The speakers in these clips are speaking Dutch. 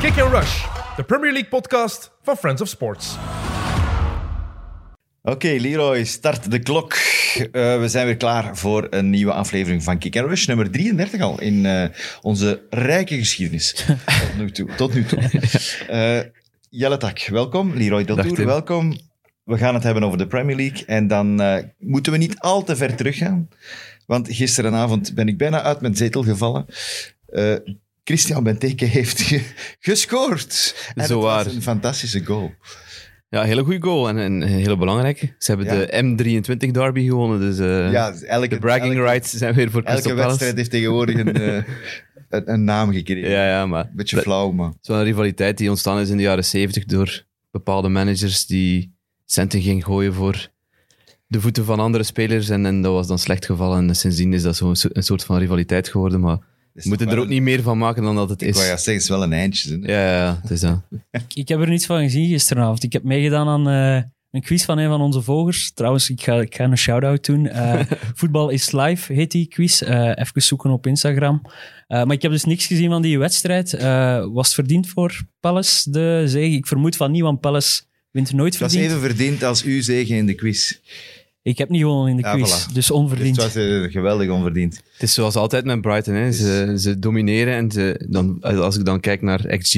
Kick and Rush, de Premier League podcast van Friends of Sports. Oké, Leroy, start de klok. Eh, we zijn weer klaar voor een nieuwe aflevering van Kick and Rush, nummer 33 al in eh, onze rijke geschiedenis. tot nu toe. Tot nu toe. Eh, Jelle Tak, welkom. Leroy Dag, Deltour, Tim. welkom. We gaan het hebben over de Premier League en dan eh, moeten we niet al te ver teruggaan. Want gisterenavond ben ik bijna uit mijn zetel gevallen. Eh, Christian Benteke heeft ge- gescoord. En Zo het was waar. een fantastische goal. Ja, hele goede goal en een hele belangrijke. Ze hebben Ja. de M23 derby gewonnen, dus eh, Ja, elke, de bragging elke- rights zijn weer voor Elke Crystal wedstrijd Palace. heeft tegenwoordig een, eh, een, een naam gekregen. Ja, ja, maar Beetje dat- flauw, maar het is wel een rivaliteit die ontstaan is in de jaren 70 door bepaalde managers die centen gingen gooien voor de voeten van andere spelers en, en dat was dan slecht gevallen. En sindsdien is dat zo'n so- een soort van rivaliteit geworden, maar het is we moeten toch er wel ook niet meer van maken dan dat het een- Ik is. wou ja zeggen, het is wel een eindje. hè. Ja, ja, ja, het is dat. Ik- Ik heb er niets van gezien gisteravond. Ik heb meegedaan aan eh, een quiz van een van onze volgers. Trouwens, ik ga, ik ga een shout-out doen. Eh, Voetbal is live heet die quiz. Eh, even zoeken op Instagram. Eh, maar ik heb dus niks gezien van die wedstrijd. Eh, was het verdiend voor Palace de zege? Ik vermoed van niet, want Palace wint nooit Het was verdiend. even verdiend als uw zegen in de quiz. Ik heb niet gewonnen in de Ja, quiz, voilà. dus Dus het onverdiend. was eh, geweldig onverdiend. Het is zoals altijd met Brighton. Hè. Ze, ze domineren. En ze, dan, als ik dan kijk naar XG,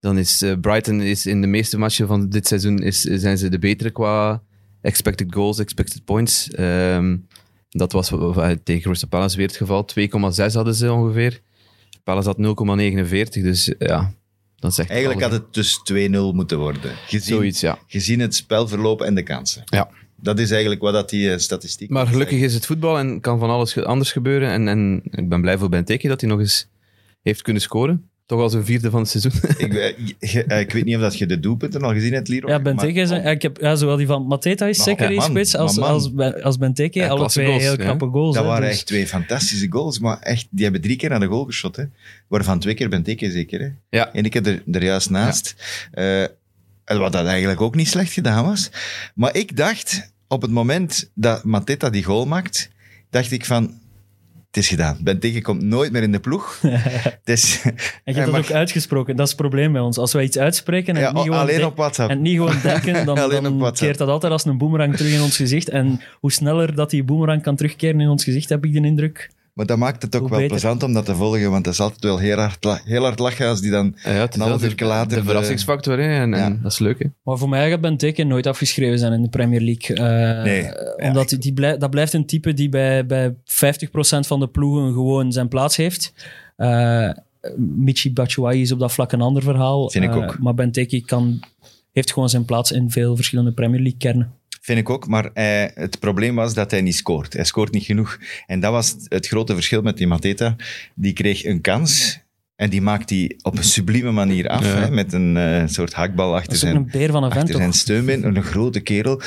dan is eh, Brighton is in de meeste matchen van dit seizoen is, zijn ze de betere qua expected goals, expected points. Ehm, dat was wa- wa- tegen Crystal Palace weer het geval. 2,6 hadden ze ongeveer. Palace had 0,49. Dus eh, ja, dan zegt Eigenlijk had alles. het dus 2-0 moeten worden. Gezien, zoiets, ja. gezien het spelverloop en de kansen. Ja. Dat is eigenlijk wat dat die eh, statistiek... Maar gelukkig is het voetbal en kan van alles ge- anders gebeuren. En, en ik ben blij voor Benteke dat hij nog eens heeft kunnen scoren. Toch al zijn vierde van het seizoen. Ik, eh, je- eh, ik weet niet of dat je de doelpunten al gezien hebt, Leroy. Ja, Benteke is... maar- een- Ik heb ja, zowel die van Mateta is Maar- zeker ja, in man, spits als, maar man. als, Ben- als Benteke. Ja, Alle klasse twee goals, heel ja. knappe goals. Dat hè, waren dus- echt twee fantastische goals. Maar echt, die hebben drie keer naar de goal geschot. Hè. Waarvan twee keer Benteke zeker. Hè. Ja. En ik heb er, er juist naast. Eh, wat dat eigenlijk ook niet slecht gedaan was. Maar ik dacht, op het moment dat Mateta die goal maakt, dacht ik van... Het is gedaan. Benteke komt nooit meer in de ploeg. het is, En je Hij hebt dat mag- ook uitgesproken. Dat is het probleem bij ons. Als wij iets uitspreken en Eh, ja, oh, het niet gewoon alleen denk- op WhatsApp. en het niet gewoon denken, dan, Alleen dan op WhatsApp. keert dat altijd als een boemerang terug in ons gezicht. En hoe sneller dat die boemerang kan terugkeren in ons gezicht, heb ik de indruk. Maar dat maakt het ook Hoe wel beter. plezant om dat te volgen. Want dat is altijd wel heel hard, la- heel hard lachen als die dan... Ja, ja, het is Een half wel uur later de, de- de verrassingsfactor. Hè, en, en Ja. dat is leuk. Hè. Maar voor mij gaat Benteke nooit afgeschreven zijn in de Premier League. Eh, Nee, eh, Omdat die blij- dat blijft een type die bij, bij 50% van de ploegen gewoon zijn plaats heeft. Eh Michi Batshuayi is op dat vlak een ander verhaal. Vind ik Eh, ook. maar Benteke kan, heeft gewoon zijn plaats in veel verschillende Premier League kernen. Vind ik ook, maar eh, het probleem was dat hij niet scoort. Hij scoort niet genoeg. En dat was het grote verschil met die Mateta. Die kreeg een kans en die maakt die op een sublieme manier af. Ja. Hè, met een eh, soort hakbal achter Dat is ook zijn, een beer van een vent, achter toch? zijn steunbeen. Een grote kerel.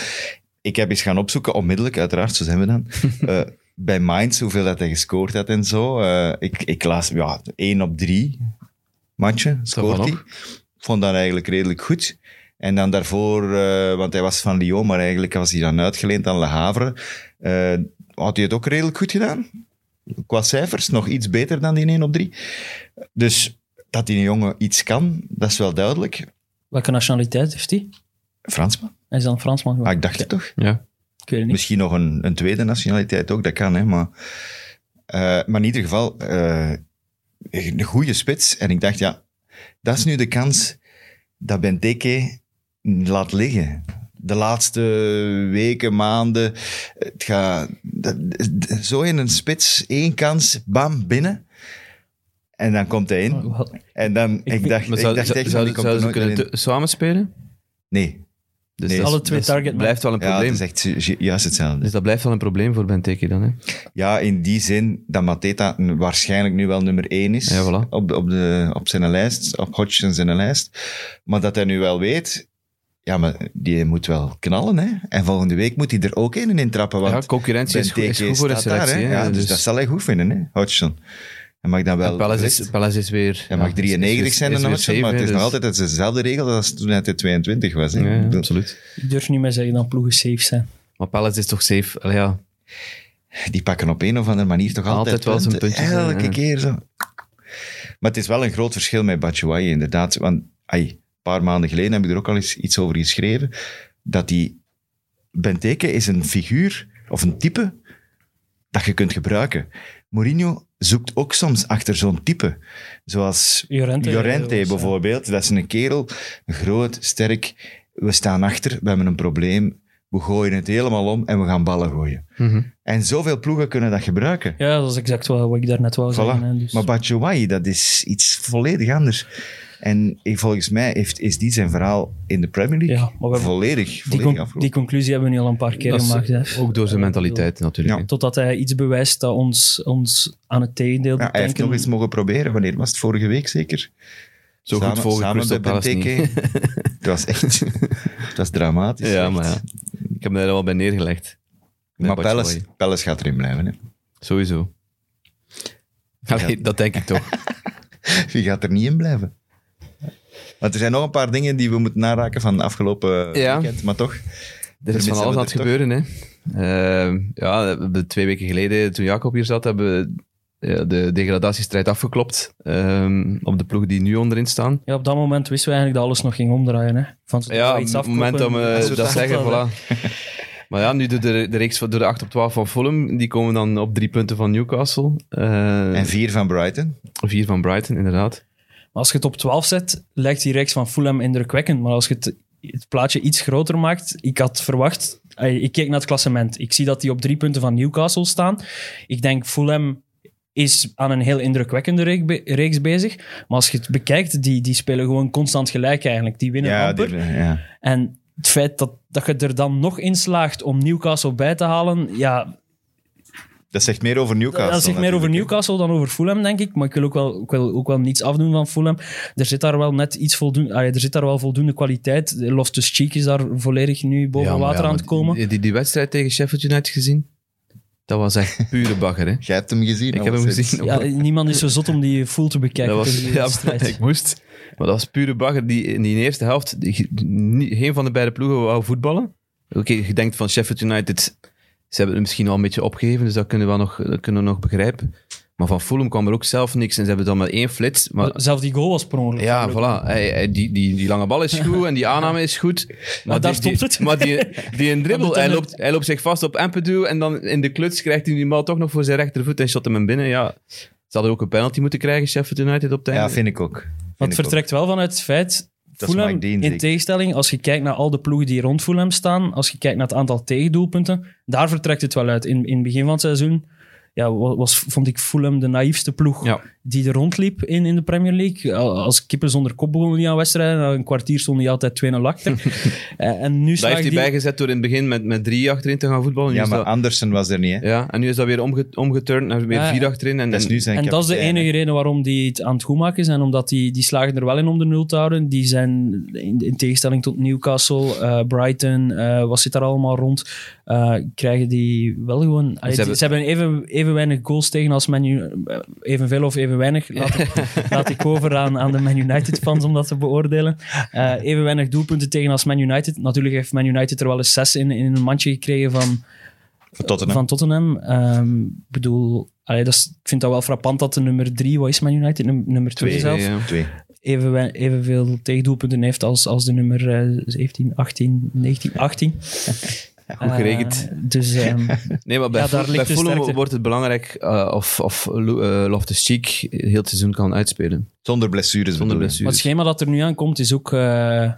Ik heb eens gaan opzoeken, onmiddellijk uiteraard, zo zijn we dan. eh, bij Mainz, hoeveel dat hij gescoord had en zo. Eh, ik, ik las, ja, één op drie matchen scoort wel hij. Ik vond dat eigenlijk redelijk goed. En dan daarvoor, eh, want hij was van Lyon, maar eigenlijk was hij dan uitgeleend aan Le Havre. Eh, had hij het ook redelijk goed gedaan? Qua cijfers, nog iets beter dan die 1 op 3. Dus dat die jongen iets kan, dat is wel duidelijk. Welke nationaliteit heeft hij? Fransman? Hij is dan Fransman. Ah, ik dacht het toch? Ja. Ik weet het niet. Misschien nog een, een tweede nationaliteit ook, dat kan, hè, maar, eh, maar in ieder geval eh, een goede spits. En ik dacht, ja, dat is nu de kans dat Benteke laat liggen. De laatste weken, maanden, het gaat dat- d- zo in een spits, één kans, bam, binnen. En dan komt hij in. Wat- En dan, Ik ik vind- dacht, Oh. Maar ik zou, dacht zou- echt, zouden- die komt er zouden ze nooit meer kunnen in. te- samenspelen? Nee, Dus Nee. dat is- Alle twee dat is- targetmen. blijft wel een ja, probleem. het is echt ju- juist hetzelfde. Dus dat blijft wel een probleem voor Benteke dan. Hè. Ja, in die zin dat Mateta n- waarschijnlijk nu wel nummer één is Ja, voilà. op, de- op, de, op zijn lijst, op Hodgson zijn lijst. Maar dat hij nu wel weet, ja, maar die moet wel knallen, hè. En volgende week moet hij er ook een in trappen, want Ja, concurrentie is goed, Benteke is goed voor de staat daar, selectie. hè. hè. ja, dus, Dus- dat zal hij goed vinden, hè, Hodgson. Hij mag dan wel... en Palace, terecht. is, Palace is weer... hij mag ja, 93 is- is zijn weer dan Hodgson, safe, maar het hè, is nog dus- altijd het is dezelfde regel als toen hij 22 was. Hè. Ja, Ik ja, bedoel, absoluut. Ik durf niet meer zeggen dat ploegen safe zijn. Maar Palace is toch safe? Allee, ja. die pakken op een of andere manier toch altijd, Altijd wel zijn punten. puntjes, hè, Elke ja. keer zo. Maar het is wel een groot verschil met Batshuayi, inderdaad. Want ai, een paar maanden geleden heb ik er ook al eens iets over geschreven, dat die Benteke is een figuur of een type dat je kunt gebruiken. Mourinho zoekt ook soms achter zo'n type. Zoals Llorente. Llorente eh, was, eh, bijvoorbeeld. Dat is een kerel, groot, sterk. We staan achter, we hebben een probleem. We gooien het helemaal om en we gaan ballen gooien. Mhm. En zoveel ploegen kunnen dat gebruiken. Ja, dat is exact wat, wat ik daarnet wou zeggen. hè, Voilà. dus. Maar Batshuayi, dat is iets volledig anders. En ik- volgens mij heeft, is die zijn verhaal in de Premier League Ja, maar we hebben- volledig, die, volledig con- die afgerond. conclusie hebben we nu al een paar keer Dat is gemaakt. hè. Ook door zijn mentaliteit natuurlijk. Ja. Totdat hij iets bewijst dat ons, ons aan het tegendeel Ja, doet hij heeft nog denken. eens mogen proberen. Wanneer was het? Vorige week zeker? Zo goed volgen Crystal Palace Het was echt... Het was dramatisch. Ja, echt. maar ja. Ik heb daar wel bij neergelegd. Met Maar Batshuayi. Palace, Palace gaat erin blijven. Hè. Sowieso. Allee, Dat denk ik toch. Wie gaat er niet in blijven? Want er zijn nog een paar dingen die we moeten naraken van de afgelopen Ja. weekend. Maar toch, Er is Tenminste, van alles aan hebben het we gebeuren, hè. Ehm, ja, we hebben twee weken geleden, toen Jacob hier zat, hebben we ja, de degradatiestrijd afgeklopt ehm, op de ploeg die nu onderin staan. Ja, op dat moment wisten we eigenlijk dat alles nog ging omdraaien. Hè. Van zodra Ja, we op iets het moment dat afkopen, we als dat, we het zeggen, afkopen, voilà. Maar ja, nu door de, de reeks van- door de 8 op 12 van Fulham, die komen dan op drie punten van Newcastle. Eh, en vier van Brighton. vier van Brighton, inderdaad. Maar als je het op 12 zet, lijkt die reeks van Fulham indrukwekkend. Maar als je het, het plaatje iets groter maakt, ik had verwacht... eh, Ik keek naar het klassement. Ik zie dat die op drie punten van Newcastle staan. Ik denk, Fulham is aan een heel indrukwekkende reek be- reeks bezig. Maar als je het bekijkt, die, die spelen gewoon constant gelijk eigenlijk. Die winnen Ja, amper. die- ja. En het feit dat, dat je er dan nog in slaagt om Newcastle bij te halen, ja, Dat zegt meer over Newcastle. dat zegt meer over natuurlijk, Newcastle dan over Fulham, denk ik. Maar ik wil ook wel, ik wil ook wel niets afdoen van Fulham. Er zit daar wel net iets voldoende, allee, er zit daar wel voldoende kwaliteit. Loftus Cheek is daar volledig nu boven Ja, maar water ja, aan maar het komen. Die, die, die wedstrijd tegen Sheffield United gezien, dat was echt pure bagger, hè. hè. Jij hebt hem gezien. Ik heb hem alleszins. gezien. Ja, niemand is zo zot om die full te bekijken. Dat was, tijdens ja, die wedstrijd. ik moest. Maar dat was pure bagger. Die, in die eerste helft, die, nie- geen van de beide ploegen wou voetballen. Oké, je denkt van Sheffield United, ze hebben het misschien al een beetje opgegeven, dus dat kunnen we, wel nog, dat kunnen we nog begrijpen. Maar van Fulham kwam er ook zelf niks en ze hebben dan maar één flits. Maar, Zelf die goal was per ongeluk. ja, voilà. Hij- hij- die, die, die lange bal is goed en die aanname is goed. Maar, daar die- die- stopt het. Maar die, die een dribbel, moet hij dan het- loopt, hij loopt zich vast op Empedu en dan in de kluts krijgt hij die bal toch nog voor zijn rechtervoet en shot hem in binnen. Ja, ze hadden ook een penalty moeten krijgen, Sheffield United, op het einde. Ja, vind ik ook. Want Vind het ik ook. vertrekt wel vanuit het feit. Dat is Fulham, Mike Dean, in zeker. tegenstelling, als je kijkt naar al de ploegen die rond Fulham staan, als je kijkt naar het aantal tegendoelpunten, daar vertrekt het wel uit. In, in het begin van het seizoen ja, wa- was, vond ik Fulham de naïefste ploeg Ja. die er rondliep in, in de Premier League. Al- Als kippen zonder kop begonnen die aan wedstrijden, na een kwartier stonden die altijd 2-0 achter. Eh, en nu Daar slaagt heeft hij die... bijgezet door in het begin met, met drie achterin te gaan voetballen. Nu Ja, is maar dat- Andersen was er niet. Hè. ja, en nu is dat weer omge, omgeturnd naar weer Ja, vier achterin. En, Dat is nu zijn En dat is de kapitein, hè. enige reden waarom die het aan het goed maken zijn. Omdat die, die slagen er wel in om de nul te houden. Die zijn in, in tegenstelling tot Newcastle, eh, Brighton, eh, wat zit daar allemaal rond. eh, krijgen die wel gewoon... allee, die- ze, hebben, hebben- even, even weinig goals tegen als Man U- eh, Evenveel of even weinig. Laat ik, laat ik over aan, aan de Man United fans om dat te beoordelen. Eh, even weinig doelpunten tegen als Man United. Natuurlijk heeft Man United er wel eens zes in, in een mandje gekregen van... Van Tottenham. Van Tottenham. Ehm, Ik bedoel, allee, dat is, ik vind dat wel frappant dat de nummer drie, wat is Man United? Num- nummer twee, Twee, zelf. Ja. Twee. Even, we- evenveel tegendoelpunten heeft als, als de nummer eh, 17, 18, 19, 18. Goed gerekend. dus ehm, Nee, maar bij, Ja, Ful- daar ligt bij de Fulham sterkte. wordt het belangrijk eh, of, of Lo- eh, Loftus-Cheek heel het seizoen kan uitspelen. Zonder blessures Zonder bedoel je? maar blessures. het schema dat er nu aankomt is ook... eh,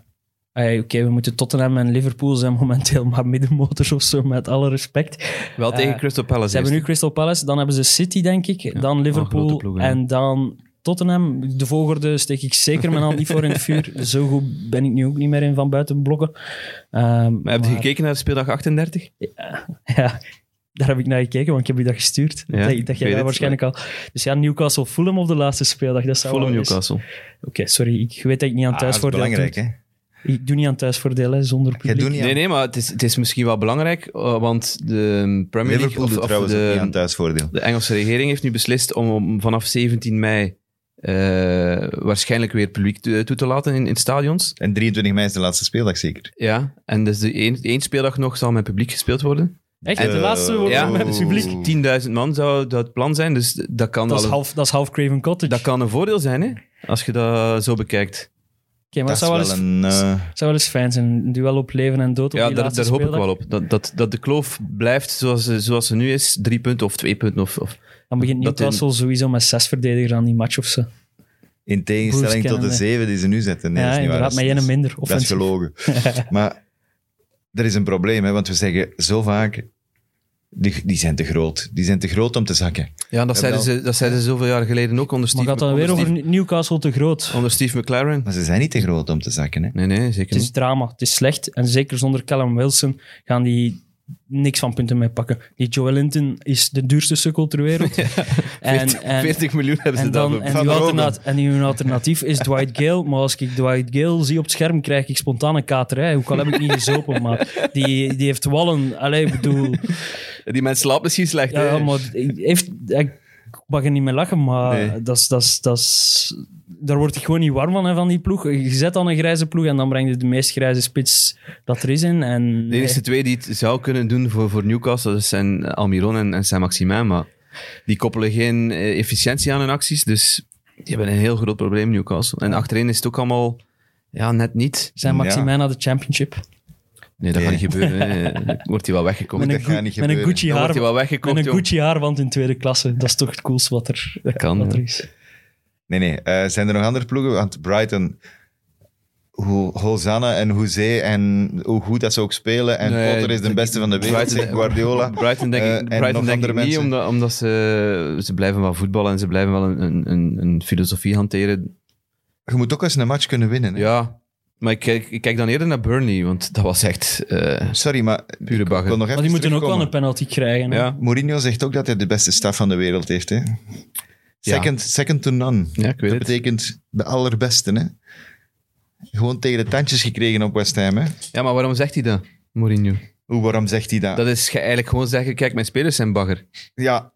allee, Oké, we moeten Tottenham en Liverpool zijn momenteel maar middenmotors of zo, met alle respect. Wel tegen Eh, Crystal Palace. Ze hebben nu eerst. Crystal Palace, dan hebben ze City, denk ik, dan een Liverpool grote ploeg, hè. en dan Tottenham. De volgorde steek ik zeker mijn hand niet voor in het vuur. Zo goed ben ik nu ook niet meer in van buiten blokken. Ehm, Maar heb je gekeken naar speeldag 38? Ja, daar heb ik naar gekeken, want ik heb je dat gestuurd. Ja, dat, dat ik jij weet daar het, waarschijnlijk al... Dus ja, Newcastle Fulham op de laatste speeldag. Dat zou Fulham wel eens- Newcastle. Oké, sorry. Ik weet dat ik niet aan Ah, dat is thuisvoordeel belangrijk, hè? doe. Ik doe niet aan thuisvoordeel, hè, zonder Jij publiek. doet niet aan- Nee, nee, maar het is, het is misschien wel belangrijk, eh, want de Premier League Liverpool of, doet of trouwens ook niet aan de, thuisvoordeel. de Engelse regering heeft nu beslist om, om vanaf 17 mei eh, waarschijnlijk weer publiek toe, toe te laten in, in stadions. En 23 mei is de laatste speeldag zeker. Ja, en dus de één, één speeldag nog zal met publiek gespeeld worden. Echt? de Eh, laatste woorden ja. met het publiek. Oeh. 10.000 man zou dat het plan zijn, dus dat kan, al Dat is, een- half, dat is half Craven Cottage. dat kan een voordeel zijn, hè? Als je dat zo bekijkt. Oké, maar dat het is zou wel, wel eens, een... eh, zou wel eens fijn zijn. Een duel op leven en dood op Ja, die daar, laatste daar hoop ik speeldag. wel op. Dat, dat, dat de kloof blijft zoals, ze- zoals ze nu is. Drie punten of twee punten. Of, of. Dan begint Dat in- Newcastle sowieso met zes verdedigers aan die match of zo. in tegenstelling tot de Broers zeven die ze nu zetten. Nee, ja, dat is niet waar. inderdaad, Dat met is- één minder. Dat is Offensief. gelogen. maar er is een probleem, hè, want we zeggen zo vaak... Die, die zijn te groot. Die zijn te groot om te zakken. Ja, dat zeiden, zeiden ze, dat zeiden ze zoveel jaar geleden ook onder Maar Steve, Oh. gaat dan weer onder over Steve, Newcastle te groot? onder Steve McLaren. Maar ze zijn niet te groot om te zakken. Hè. Nee, nee, zeker Het is niet. drama, het is slecht. En zeker zonder Callum Wilson gaan die niks van punten mee pakken. Die Joe Linton is de duurste sukkel ter wereld. en, 40, en, 40 miljoen hebben ze en, dan. dan, en, uw alternat- en uw alternatief is Dwight Gale. Maar als ik Dwight Gale zie op het scherm, krijg ik spontaan een katerij. Ook al heb ik niet gezopen, maar die, die heeft wallen. Allee, ik bedoel... Die mensen slaapt misschien slecht. Ja, hè. ja, Eh, maar ik- heeft, ik mag er niet meer lachen, maar Nee. dat is, dat is, dat is, daar word ik gewoon niet warm van, hè, van die ploeg. Je zet dan een grijze ploeg en dan breng je de meest grijze spits dat er is in. En eh, De enige twee die het zou kunnen doen voor, voor Newcastle dat zijn eh, Almiron en, en Saint-Maximin. Maar die koppelen geen eh, efficiëntie aan hun acties. Dus die hebben een heel groot probleem, Newcastle. En achterin is het ook allemaal ja, net niet. zijn Maxima naar de championship. Nee, dat gaat Nee. niet gebeuren. hè. Dan wordt hij wel weggekomen. Met dat een, gaat Gu- niet met een gebeuren. Gucci Dan wordt haar. hij wel weggekomen. Met een Gucci haarband in tweede klasse. Dat is toch het coolste wat er, kan, wat er ja. is. Nee, nee. eh, zijn er nog andere ploegen? Want Brighton, hoe Hosanna en Hoezé en hoe goed dat ze ook spelen. En Nee, Potter is de ik- beste van de wereld, Brighton- zegt Guardiola. Brighton denk Eh, ik, en Brighton nog denk ik andere niet, mensen. omdat, omdat ze, ze blijven wel voetballen en ze blijven wel een- een, een, een filosofie hanteren. Je moet ook eens een match kunnen winnen. hè. Ja, maar ik kijk, ik kijk dan eerder naar Burnley, want dat was echt... eh, Sorry, maar Pure ik bagger. wil nog even Maar die moeten ook wel terugkomen. een penalty krijgen. hè. ja. Mourinho zegt ook dat hij de beste staf van de wereld heeft. Hè? Second, second to none. ja, ik weet Dat het. betekent de allerbeste. Hè? Gewoon tegen de tandjes gekregen op West Ham. Hè? Ja, maar waarom zegt hij dat, Mourinho? Hoe, waarom zegt hij dat? Dat is ge- eigenlijk gewoon zeggen, kijk, mijn spelers zijn bagger. Ja,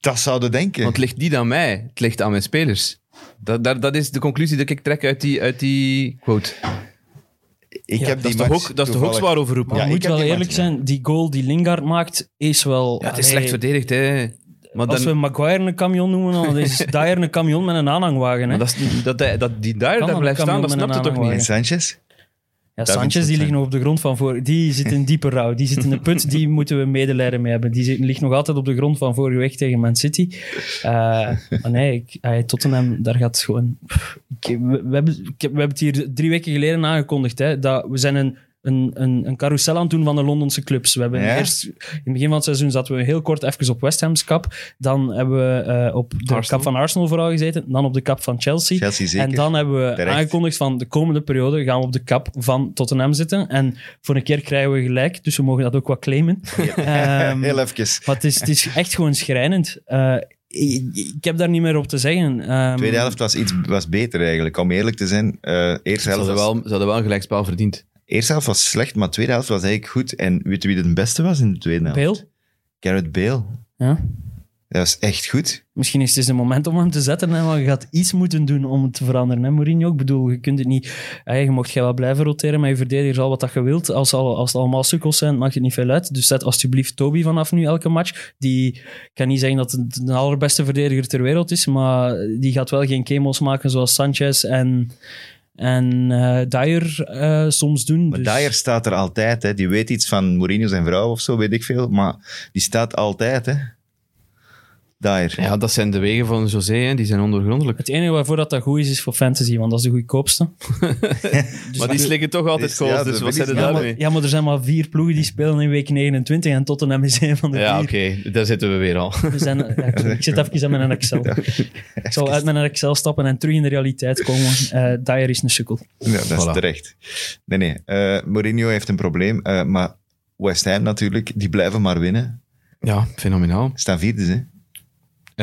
dat zouden denken. Want het ligt niet aan mij, het ligt aan mijn spelers. Dat, dat, dat is de conclusie die ik trek uit die, uit die quote. ik Ja, heb Dat die is, toch match ook, dat is toch ook toevallig- zwaar overroepen? Maar Ja, je ik moet heb wel die eerlijk match, ja. zijn, die goal die Lingard maakt, is wel... Ja, het is Allee, slecht verdedigd, hè. Maar, dan, Als we Maguire een camion noemen, dan is Dyer een camion met een aanhangwagen. Hè? maar dat, is, dat, hij- dat die daar, Kan daar dan blijft een staan, dat camion snapt met het een toch niet? En Sanchez? Ja, Daar moet het Sanchez die zijn. liggen op de grond van voor. Die zit in diepe rouw. Die zit in een put. Die moeten we medelijden mee hebben. Die zit- ligt nog altijd op de grond van vorige week tegen Man City. Eh, maar nee, ik, eh, Tottenham, daar gaat gewoon... Pff, Ik, we, we hebben, ik heb- we hebben het hier drie weken geleden aangekondigd. Hè, dat we zijn een, een, een, een carousel aan het doen van de Londense clubs. We hebben Ja? eerst... In het begin van het seizoen zaten we heel kort even op West Ham's kap. Dan hebben we eh, op de Arsenal. kap van Arsenal vooral gezeten. Dan op de kap van Chelsea. Chelsea zeker. En dan hebben we Terecht. aangekondigd van de komende periode gaan we op de kap van Tottenham zitten. En voor een keer krijgen we gelijk, dus we mogen dat ook wat claimen. Ehm, Heel even. maar het is, het is echt gewoon schrijnend. Eh, ik, ik heb daar niet meer op te zeggen. Ehm, tweede helft was, iets, was beter eigenlijk, om eerlijk te zijn. Eh, eerste, helft Ze hadden was, wel, ze hadden wel een gelijkspel verdiend. eerste helft was slecht, maar tweede helft was eigenlijk goed. En weet je wie de beste was in de tweede helft? Bale? Gareth Bale. Ja. Dat was echt goed. Misschien is het eens een moment om hem te zetten, hè, maar je gaat iets moeten doen om het te veranderen. Hè, Mourinho, ik bedoel, je kunt het niet... eh, je mocht jij wel blijven roteren met je verdedigers, al wat dat je wilt. Als, al, als het allemaal sukkels zijn, maakt het niet veel uit. Dus zet alsjeblieft Toby vanaf nu elke match. Die ik kan niet zeggen dat het de allerbeste verdediger ter wereld is, maar die gaat wel geen chemo's maken zoals Sanchez en, en eh Dyer eh, soms doen. Maar Dus- Dyer staat er altijd. Hè. Die weet iets van Mourinho zijn vrouw of zo, weet ik veel. Maar die staat altijd, hè. Dyer. Ja, dat zijn de wegen van José, hè. die zijn ondoorgrondelijk. Het enige waarvoor dat, dat goed is, is voor fantasy, want dat is de goedkoopste. Dus maar die slikken toch altijd Dus- goals, ja, dus dat wat weet ik zijn er niet. Ja, daarmee? maar, ja, maar er zijn maar vier ploegen die spelen in week 29 en Tottenham is een van de Ja, vier. oké, daar zitten we weer al. We zijn, ja, ik, ik zit even aan mijn Excel. Ik zal uit mijn Excel stappen en terug in de realiteit komen. Eh Dyer is een sukkel. Ja, dat Voilà. is terecht. Nee, nee. eh, Mourinho heeft een probleem. eh, maar West Ham natuurlijk, die blijven maar winnen. Ja, fenomenaal. Staan vierde, hè.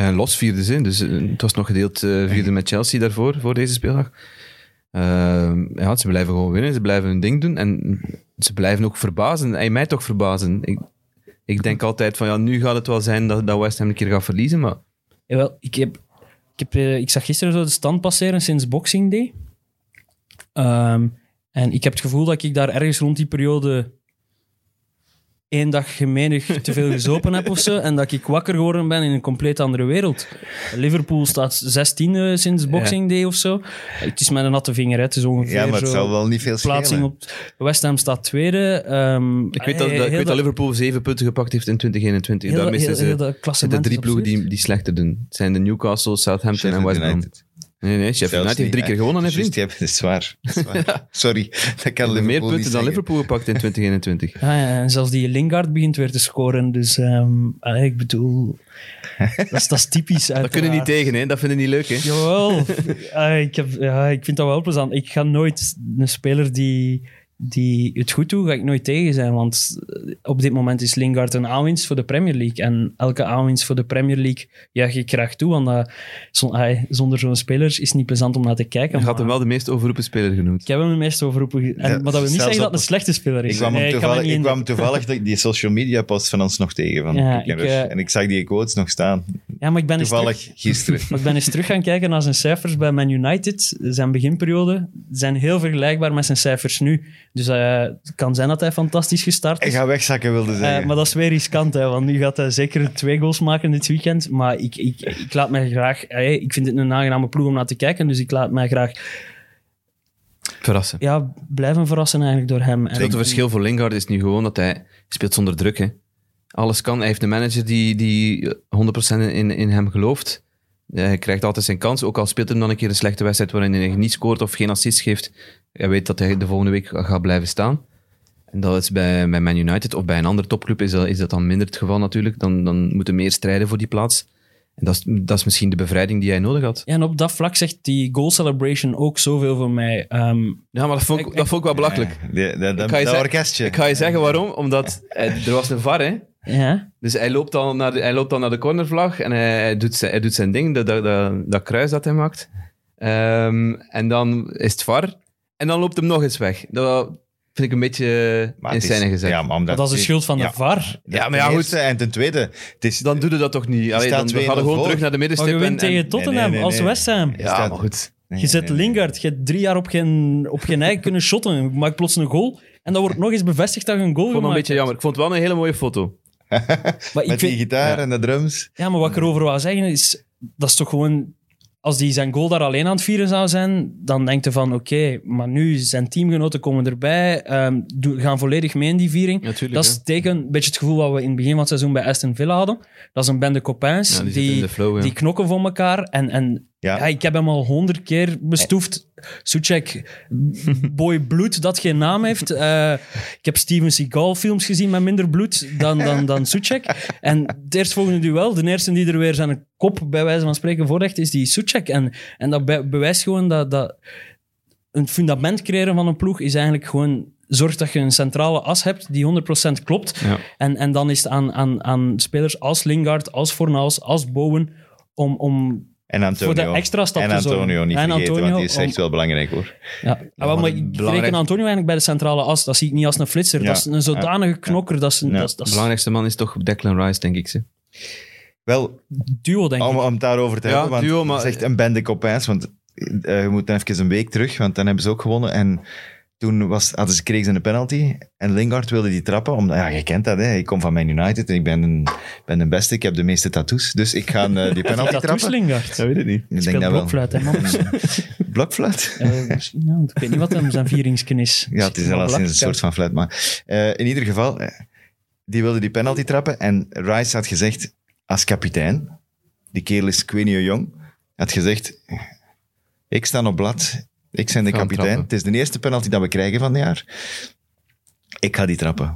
En los vierde zin, dus eh, het was nog gedeeld eh, vierde met Chelsea daarvoor, voor deze speeldag. Ehm, ja, ze blijven gewoon winnen, ze blijven hun ding doen en ze blijven ook verbazen. En mij toch verbazen. Ik, ik denk altijd van ja, nu gaat het wel zijn dat, dat West Ham een keer gaat verliezen, maar Jawel, Eh, ik, heb, ik, heb, eh, ik zag gisteren zo de stand passeren sinds Boxing Day. Ehm, en ik heb het gevoel dat ik daar ergens rond die periode één dag gemeenig te veel gezopen heb of zo. En dat ik wakker geworden ben in een compleet andere wereld. Liverpool staat 16 e sinds Boxing Day of zo. Het is met een natte vinger, hè. het is ongeveer Ja, maar het zo. zal wel niet veel Plaatsing schelen. op West Ham staat tweede. Ehm, Ik weet dat, eh, dat- ik heel weet dat Liverpool zeven punten gepakt heeft in 2021. heel dat- Daarmee heel- zijn ze- heel dat zijn de klassement drie is ploegen absurd. die, die slechter doen. Het zijn de Newcastle, Southampton en West Brom. United. Nee, nee, Sheffield Zelfs United heeft niet, drie keer hè. Dus gewonnen, hè, vriend. Juist, ja, dat is waar. Dat is waar. Sorry, dat kan Liverpool Meer punten niet dan zeggen. Liverpool gepakt in 2021. Ja, ja, en zelfs die Lingard begint weer te scoren. Dus ehm, allee, ik bedoel, dat is, dat is typisch. Dat kunnen niet tegen, hè. Dat vinden niet leuk, hè. Jawel, Ah, ik, heb, ja, ik vind dat wel plezant. Ik ga nooit een speler die, die het goed doet, ga ik nooit tegen zijn. Want op dit moment is Lingard een aanwinst voor de Premier League. En elke aanwinst voor de Premier League juich ik graag toe. Want dat- zon- ai, zonder zo'n speler is het niet plezant om naar te kijken. Je had hem maar wel de meest overroepen speler genoemd. Ik heb hem de meest overroepen. ge- Ja, En, maar dat wil niet zelfs zeggen dat op- het een slechte speler is. Ik kwam, hem Nee, kan toevallig, me niet ik in- kwam toevallig die die social media post van ons nog tegen. Van Ja, Kick and ik, Rush. eh, en ik zag die quotes nog staan. ja, maar ik ben eens Toevallig terug- gisteren. Maar ik ben eens terug gaan kijken naar zijn cijfers bij Man United. Zijn beginperiode zijn heel vergelijkbaar met zijn cijfers nu. Dus eh, het kan zijn dat hij fantastisch gestart En is. ga wegzakken wilde Eh, zeggen. maar dat is weer riskant, hè, want nu gaat hij zeker twee goals maken dit weekend. Maar ik, ik, ik laat mij graag... eh, ik vind het een aangename ploeg om naar te kijken, dus ik laat mij graag Verrassen. ja, blijven verrassen eigenlijk door hem. En Het grote verschil voor Lingard is nu gewoon dat hij speelt zonder druk. Hè. Alles kan. Hij heeft een manager die, die 100% in, in hem gelooft. Hij krijgt altijd zijn kans. Ook al speelt hem dan een keer een slechte wedstrijd waarin hij niet scoort of geen assist geeft. Hij weet dat hij de volgende week gaat blijven staan. En dat is bij, bij Man United of bij een andere topclub is dat, is dat dan minder het geval natuurlijk. Dan, dan moeten meer strijden voor die plaats. En dat is, dat is misschien de bevrijding die hij nodig had. Ja, en op dat vlak zegt die goal celebration ook zoveel voor mij. Ehm, Ja, maar dat vond ik, dat vond ik wel belachelijk. Ja, die- dat- dat- ga je dat zeggen- orkestje. Ik ga je zeggen waarom. Omdat eh, er was een var, hè. ja. Dus hij loopt dan naar de, hij loopt dan naar de cornervlag en hij, hij doet, zijn, hij doet zijn ding, dat, dat, dat, dat kruis dat hij maakt. Ehm, en dan is het var. En dan loopt hem nog eens weg. Dat vind ik een beetje Maar in het is- scène gezet. Ja, Ja, maar omdat Dat is de die- schuld van de Ja. VAR. Ja, maar ten ja, goed. eerste En ten tweede, het is, Dan doe je dat toch niet. Allee, staat dan, dan 2-0 gaan we gewoon voor. terug naar de Maar je middenstip. wint en- tegen en- Tottenham nee, nee, als nee. West Ham. Je ja, staat- maar goed. Nee, Je zet nee, nee. Lingard, je hebt drie jaar op geen, op geen eigen kunnen shotten. Je maakt plots een goal. En dan wordt nog eens bevestigd dat je een goal Ik vond het een gemaakt beetje jammer. Ik vond het wel een hele mooie foto. hebt. Maar ik Met die vind- gitaar en de drums. Ja, maar wat ik erover wou zeggen is... Dat is toch gewoon... Als die zijn goal daar alleen aan het vieren zou zijn, dan denkt hij van oké, maar nu zijn teamgenoten komen erbij, ehm, doen- gaan volledig mee in die viering. Natuurlijk. dat is teken, een beetje het gevoel wat we in het begin van het seizoen bij Aston Villa hadden. Dat is een bende copains die, die, zit in die, de flow. ja. knokken voor elkaar. En, en Ja, Ja, ik heb hem al honderd keer bestoefd. Suchek, boy bloed dat geen naam heeft. Eh, ik heb Steven Seagal films gezien met minder bloed dan, dan, dan Suchek. En het eerstvolgende duel, de eerste die er weer zijn kop bij wijze van spreken voorlegt, is die Suchek. En, en dat be- bewijst gewoon dat, dat een fundament creëren van een ploeg is eigenlijk gewoon... Zorg dat je een centrale as hebt die 100% klopt. Ja. En, en dan is het aan, aan, aan spelers als Lingard, als Fornaals, als Bowen... Om, om en Antonio. voor de extra stap En te zorgen. Antonio, niet En vergeten, want die is Antonio echt om- wel belangrijk hoor. Ja. Ah, wel, maar ik belangrijk- reken Antonio eigenlijk bij de centrale as. Dat zie ik niet als een flitser. Ja. Dat is een zodanige knokker. Dat is een Ja. dat is, dat is belangrijkste man is toch Declan Rice, denk ik. Ze. Wel, duo, denk ik. om, om het daarover te Ja, hebben, want duo, maar- het is echt een bende kopijs, want eh, je moet even een week terug, want dan hebben ze ook gewonnen en toen was, hadden ze, kregen ze een penalty en Lingard wilde die trappen, omdat, ja, je kent dat, hè. ik kom van Man United en ik ben, een, ben de beste, ik heb de meeste tattoos, dus ik ga eh, die dat penalty dat trappen. Toeslingard. weet het niet. Ik denk Speelt dat wel. blokfluit, hè, man. Blokfluit? Eh, misschien, ja, want ik weet niet wat hem zijn vieringsken is. Ja, het is al sinds een soort van fluit, maar eh, in ieder geval, eh, die wilde die penalty trappen en Rice had gezegd, als kapitein, die kerel is Quinio Jong, had gezegd, ik sta op blad, ik ben de Gaan kapitein, trappen. het is de eerste penalty dat we krijgen van het jaar, ik ga die trappen.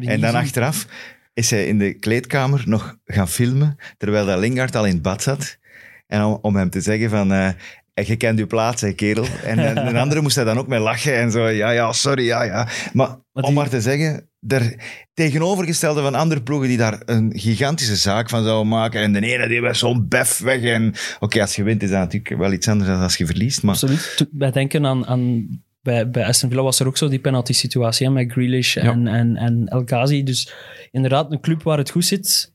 En dan achteraf is hij in de kleedkamer nog gaan filmen, terwijl dat Lingard al in het bad zat, en om, om hem te zeggen van... eh, je kent uw plaats, hè, kerel. En eh, een andere moest daar dan ook mee lachen en zo. Ja, ja, sorry, ja, ja. Maar Maar om die- maar te zeggen, daar, tegenovergestelde van andere ploegen die daar een gigantische zaak van zouden maken. En de ene die was zo'n bef weg. En oké, als je wint is dat natuurlijk wel iets anders dan als je verliest. Maar Absoluut. Toen- Wij denken aan... aan bij, bij Aston Villa was er ook zo die penalty-situatie hè, met Grealish en, en, en El Ghazi. Dus inderdaad, een club waar het goed zit, dat is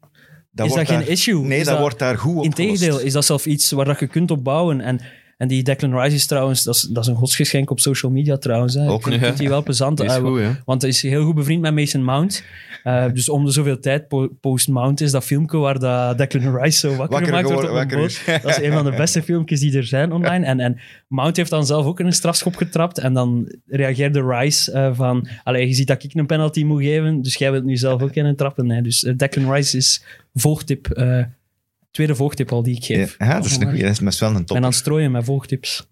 dat wordt geen daar- issue? Nee, Is dat, dat- wordt daar goed op Integendeel, is dat zelf iets waar dat je kunt op bouwen. En, En die Declan Rice is trouwens, dat is, dat is een godsgeschenk op social media trouwens. Hè. Ook, ik vind, ik ja. vind die wel plezant. Dat is Eh, goed, hè? want hij is heel goed bevriend met Mason Mount. Eh, dus om de zoveel tijd po- post Mount is dat filmpje waar dat Declan Rice zo wakker, Wakker gemaakt wordt geworden, op wakker een boot. is. Dat is een van de beste filmpjes die er zijn online. En, en Mount heeft dan zelf ook in een strafschop getrapt. En dan reageerde Rice eh, van... Allee, je ziet dat ik een penalty moet geven, dus jij wilt nu zelf ook in een trappen. Hè. Dus eh, Declan Rice is volgtip... eh, tweede volgtip al die ik Ja, geef. ja, dat is een goeie. Dat is best wel een En topper. dan strooien met volgtips.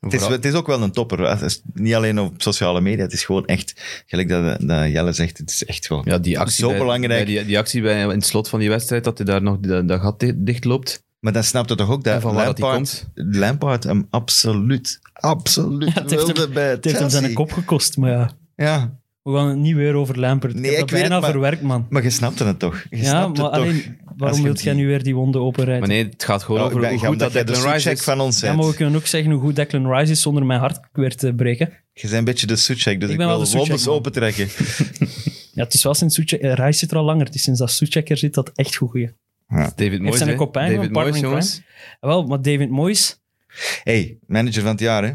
Het is, het is ook wel een topper. Het is niet alleen op sociale media, het is gewoon echt, gelijk dat, dat Jelle zegt, het is echt gewoon Ja, die actie zo bij- belangrijk. bij die, die actie bij, in het slot van die wedstrijd, dat hij daar nog dat, dat gat dicht, loopt. Maar dan snapt het toch ook en dat van waar dat hij Lampard, komt. Lampard hem absoluut, absoluut het heeft wilde bij Het heeft hem zijn Chelsea. kop gekost, maar ja. Ja, We gaan het niet weer over Lampert. Nee, ik heb ik dat weet het, bijna maar- verwerkt, man. maar je snapte het toch? Je Ja, snapt maar het toch? alleen, Als waarom je wilt jij die- nu weer die wonden openrijden? Maar nee, het gaat gewoon Ja, over ben- hoe ja, goed dat omdat jij de Declan Rice Suchek is. van ons ja, maar we bent. kunnen ook zeggen hoe goed Declan Rice is zonder mijn hart weer te breken. Je bent een beetje de Suchek, dus Ik ik, ben wel wil de Suchek, wonders man. opentrekken. Ja, het is wel sinds Suchek... eh, Rice zit er al langer. Het is sinds dat Suchek er zit dat echt goed goeie. David Moyes, zijn hè? een kopijn, David een partner Moyes, in jongens. Wel, maar David Moyes... hey, manager van het jaar, hè?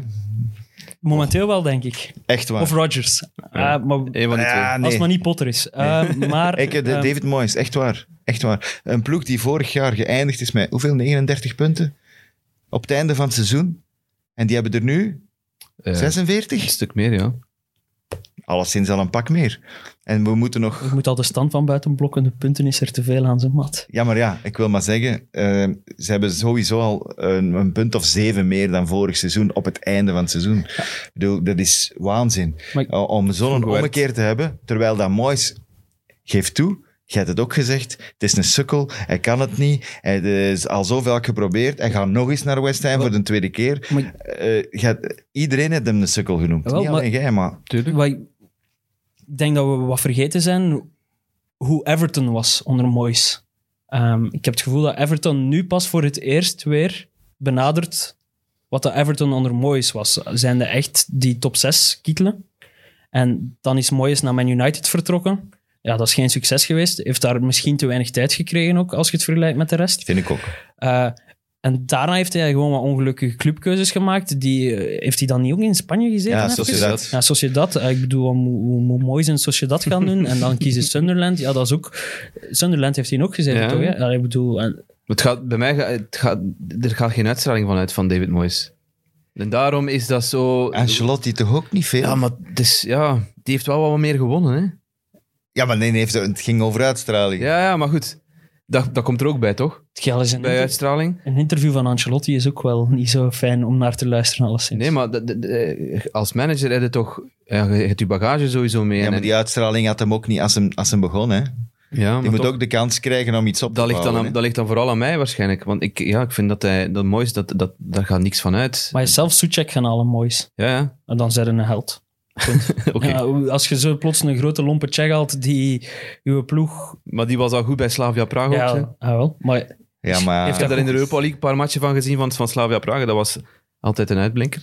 Momenteel wel, denk ik. Echt waar. Of Rodgers. Ja. Ah, maar, Eén van die twee. Ja, Als nee. het maar niet Potter is. Eh, maar... Ik, eh, de- ehm, David Moyes, echt waar. echt waar. Een ploeg die vorig jaar geëindigd is met hoeveel? 39 punten? Op het einde van het seizoen. En die hebben er nu Eh, Een 46. stuk meer, ja. Alleszins al een pak meer. En we moeten nog... Ik moet al de stand van buiten blokken. De punten is er te veel aan zijn mat. Ja, maar ja, ik wil maar zeggen, eh, ze hebben sowieso al een, een punt of zeven meer dan vorig seizoen op het einde van het seizoen. Ik bedoel, dat is waanzin. Maar ik- O- Om zo'n Goed werk. ommekeer te hebben, terwijl dat Moyes geeft toe, jij hebt het ook gezegd, het is een sukkel, hij kan het niet, hij is al zoveel geprobeerd, hij gaat nog eens naar West Ham voor de tweede keer. Maar- Eh, jij- iedereen heeft hem een sukkel genoemd, Wel, niet maar- alleen jij, maar... Tuurlijk. Wat ik ik denk dat we wat vergeten zijn hoe Everton was onder Moyes. Ehm, ik heb het gevoel dat Everton nu pas voor het eerst weer benadert wat de Everton onder Moyes was. Zijn de echt die top 6 kietelen? En dan is Moyes naar Man United vertrokken. Ja, dat is geen succes geweest. Heeft daar misschien te weinig tijd gekregen ook, als je het vergelijkt met de rest. Vind ik ook. Eh, en daarna heeft hij gewoon wat ongelukkige clubkeuzes gemaakt. Die, eh, heeft hij dan niet ook in Spanje gezeten? Ja, even? zoals je dat... Ja, Sociedad. eh, Ik bedoel, hoe, hoe, hoe mooi zijn Sociedad gaan doen. En dan kiezen Sunderland. Ja, dat is ook... Sunderland heeft hij ook gezeten, Ja. toch? Hè? Ja, ik bedoel... eh, En, Het gaat, bij mij ga- het gaat, er gaat geen uitstraling van uit van David Moyes. En daarom is dat zo... Ancelotti toch ook niet veel? ja, maar het is- ja, die heeft wel wat meer gewonnen, hè. Ja, maar nee, nee, heeft- het ging over uitstraling. Ja, ja maar goed. Dat, dat komt er ook bij, toch? het geld is een, Bij inter- uitstraling. een interview van Ancelotti is ook wel niet zo fijn om naar te luisteren, alleszins. Nee, maar dat- dat- eh, als manager heb je toch... Ja, je hebt je bagage sowieso mee. Ja, en- maar die uitstraling had hem ook niet als hem, als hem begon. Hè. ja, maar Die moet toch- ook de kans krijgen om iets op te Dat ligt, dan bouwen, aan, hè. dat ligt dan vooral aan mij waarschijnlijk. Want ik, ja, ik vind dat hij, dat moois, dat, dat, daar gaat niks van uit. Maar je zelf Suchek gaan alle moois. Ja, ja. En dan zijn ze een held. Oké. Ja, als je zo plots een grote lompe check haalt die uw ploeg... Maar die was al goed bij Slavia Praag ook. hè. Ja, ah, wel. Maar Ja, maar... Ik heb daar in de Europa League een paar matchen van gezien van, van Slavia Praag. Dat was altijd een uitblinker.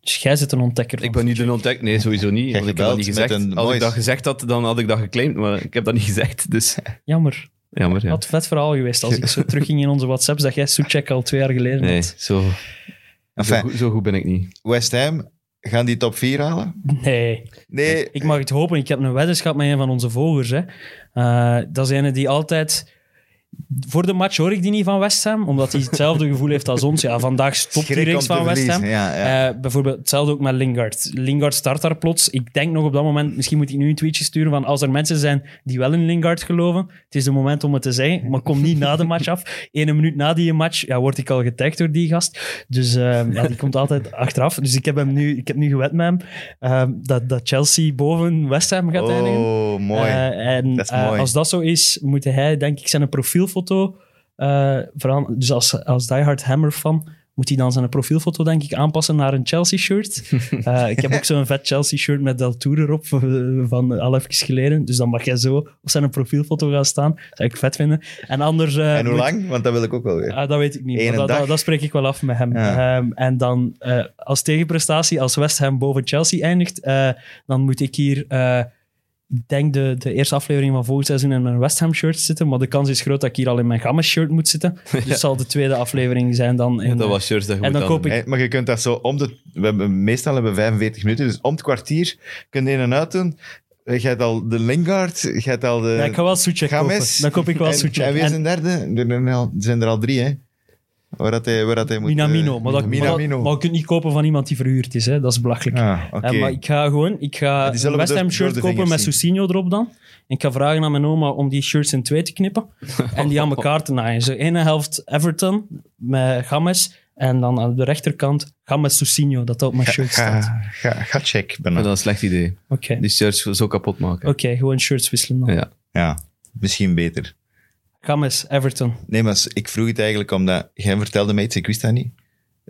dus jij zit een ontdekker. Ik ben niet een ontdek. Nee, sowieso niet. Jij want Ik heb dat niet gebeld met gezegd. een Als ik Moyes. dat gezegd had, dan had ik dat geclaimd. Maar ik heb dat niet gezegd. Dus Jammer. jammer. Ja. Wat een vet verhaal geweest als ik zo terugging in onze WhatsApps dat jij Suchek al twee jaar geleden Nee, had. zo, zo, Enfin, goed, zo goed ben ik niet. West Ham, gaan die top 4 halen? Nee. Nee. Ik mag het hopen. Ik heb een weddenschap met een van onze volgers. Hè. Eh, dat is een die altijd... Voor de match hoor ik die niet van West Ham, omdat hij hetzelfde gevoel heeft als ons. Ja, vandaag stopt hij Schrik om reeks te van West verliezen, Ham. Ja, ja. Eh, bijvoorbeeld hetzelfde ook met Lingard. Lingard start daar plots. Ik denk nog op dat moment, misschien moet ik nu een tweetje sturen van als er mensen zijn die wel in Lingard geloven, het is de moment om het te zeggen, maar kom niet na de match af. Ene minuut na die match ja, word ik al getagd door die gast. Dus eh, ja, die komt altijd achteraf. Dus ik heb, hem nu, ik heb nu gewet met hem eh, dat, dat Chelsea boven West Ham gaat eindigen. oh, mooi. Eh, en Dat is eh, mooi. als dat zo is, moet hij, denk ik, zijn profielfoto eh, veranderen. Dus als, als diehard Hammer fan, moet hij dan zijn profielfoto, denk ik, aanpassen naar een Chelsea-shirt. Eh, ik heb ook zo'n vet Chelsea-shirt met Del Tour erop eh, van al even geleden. Dus dan mag jij zo op zijn profielfoto gaan staan. Zou ik vet vinden. En anders... eh, en hoe moet- lang? Want dat wil ik ook wel weer. Ah, dat weet ik niet. Eén maar Dat, dag. dat, dat spreek ik wel af met hem. Ja. Ehm, en dan eh, als tegenprestatie, als West Ham boven Chelsea eindigt, eh, dan moet ik hier eh, denk de, de eerste aflevering van volgend seizoen in mijn West Ham shirt zitten. Maar de kans is groot dat ik hier al in mijn Gamma shirt moet zitten. Dus het zal de tweede aflevering zijn dan. In, eh, dat was shirts dat je en moet dan koop aan- Ah, ik- Hey, maar je kunt dat zo om de... We hebben, meestal hebben we 45 minuten, dus om het kwartier kun je in en uit doen. Eh, Je hebt al de Lingard, je hebt al de... Ja, ik ga wel Soetjek kopen. eh, Games. Dan koop ik wel en, en Soetjek. wie is En een derde? Er zijn al- er zijn er al drie, hè? Waar dat hij, waar dat hij moet... Minamino. eh, Maar, dat, maar, dat- Minamino. maar je kunt niet kopen van iemand die verhuurd is. Hè. Dat is belachelijk. Ah, oké. Eh, maar ik ga gewoon ik ga die een zullen we West door- Ham door shirt de kopen vingers met zien. Soussinho erop dan. En ik ga vragen aan mijn oma om die shirts in twee te knippen. En die aan elkaar te naaien. Zo ene helft Everton met Games. En dan aan de rechterkant Games Soussinho. Dat dat op mijn shirt Ga, staat. ga, ga check, Dat bijna. is een slecht idee. Oké, Die shirts zo kapot maken. Oké, gewoon shirts wisselen dan. Ja. Ja, misschien beter. Games, Everton. Nee, maar ik vroeg het eigenlijk omdat... Jij vertelde mij iets, ik wist dat niet.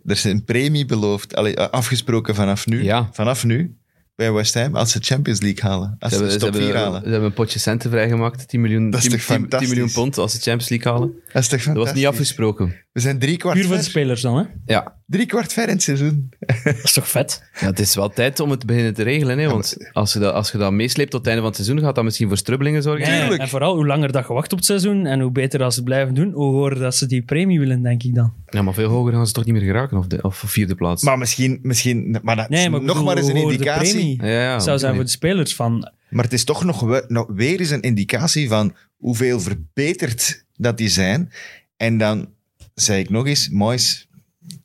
Er is een premie beloofd, allee, eh, afgesproken vanaf nu. Ja. Vanaf nu, bij West Ham, als ze Champions League halen. Als ze, de top hebben, 4 ze halen. hebben een potje centen vrijgemaakt. 10 miljoen, Dat is 10, toch 10 10 miljoen fantastisch? pond als ze Champions League halen. Dat is toch Dat was niet fantastisch? afgesproken. We zijn drie kwart, Puur voor de ver, spelers dan, hè? Ja. drie kwart ver in het seizoen. Dat is toch vet? ja, het is wel tijd om het te beginnen te regelen. Hè, want als je, dat, als je dat meesleept tot het einde van het seizoen, gaat dat misschien voor strubbelingen zorgen. Nee, Tuurlijk. En vooral, hoe langer dat je wacht op het seizoen en hoe beter dat ze het blijven doen, hoe hoger dat ze die premie willen, denk ik dan. Ja, maar veel hoger gaan ze toch niet meer geraken, of, de, of vierde plaats. Maar misschien... misschien maar dat Nee, is maar ik nog bedoel, maar eens een hoe hoger indicatie. De premie ja, ja, zou zijn nee. voor de spelers van... Maar het is toch nog we- nog weer eens een indicatie van hoeveel verbeterd dat die zijn. En dan zei ik nog eens, Moyes,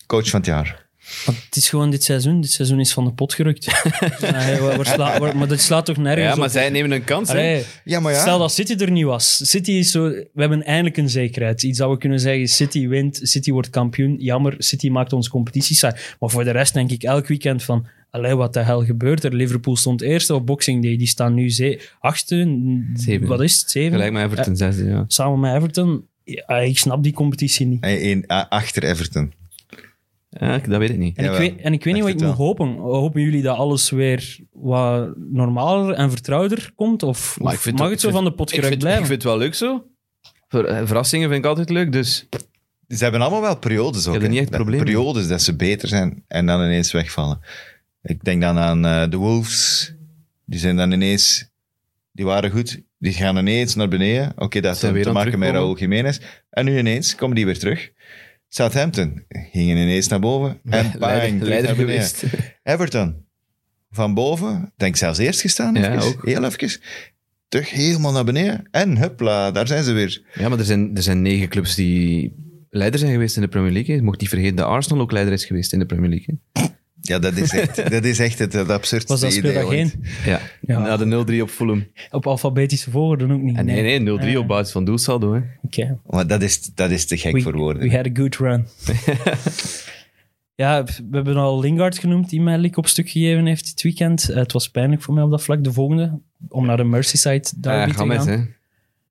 coach van het jaar. want Het is gewoon dit seizoen. Dit seizoen is van de pot gerukt. Nee, waar- waar sla- waar- maar dat slaat toch nergens Ja, maar op? zij nemen een kans. hè. Allee, Ja, maar ja. Stel dat City er niet was. City is zo... We hebben eindelijk een zekerheid. Iets dat we kunnen zeggen, City wint, City wordt kampioen. Jammer, City maakt onze competitie saai. Maar voor de rest denk ik elk weekend van... Allee, wat de hel gebeurt er? Liverpool stond eerste op Boxing Day. Die staan nu ze achtste. n- Zeven. Wat is het? Zeven? Gelijk met Everton zesde, ja. Samen met Everton. Ja, ik snap die competitie niet. Hey, één, a- achter Everton. ja. ik- Dat weet ik niet. En ik, Jawel, weet, en ik weet niet echt wat het ik moet hopen. Hopen jullie dat alles weer wat normaler en vertrouwder komt? Of, Maar of ik vind mag ook- het zo ik van vind- de pot Ik vind, gerukt ik blijven? vind het wel leuk zo. Ver- eh, Verrassingen vind ik altijd leuk, dus Ze hebben allemaal wel periodes ook. hebben hè. niet echt Dat- problemen. Periodes dat ze beter zijn en dan ineens wegvallen. Ik denk dan aan eh, de Wolves. Die zijn dan ineens... Die waren goed. Die gaan ineens naar beneden. Oké, dat Zijn had weer te aan het maken met Raúl terugkomen. Jiménez. En nu ineens komen die weer terug. Southampton gingen ineens naar boven. En bang, terug leider, naar beneden. leider geweest. Everton. Van boven, denk zelfs eerst gestaan. Ja, even, ook. Heel even. Terug helemaal naar beneden. En huppla, daar zijn ze weer. Ja, maar er zijn, er zijn negen clubs die leider zijn geweest in de Premier League. hè. Je mocht niet vergeten dat Arsenal ook leider is geweest in de Premier League. Ja, dat is echt, dat is echt het, het absurdste Was dat idee. speeldag ooit. één? hè. Ja, Ja. na de 0-3 op Fulham. Op alfabetische volgorde ook niet. En Ah, nee, nee, 0-3 Ja. op basis van doelsaldo. Hè. Oké. Maar dat is, dat is te gek We- voor woorden. We had a good run. ja, we hebben al Lingard genoemd, die mij lik op stuk gegeven heeft dit weekend. Eh, het was pijnlijk voor mij op dat vlak. De volgende, om naar de Merseyside Ja, derby te Gamet, gaan. Ah, Eh,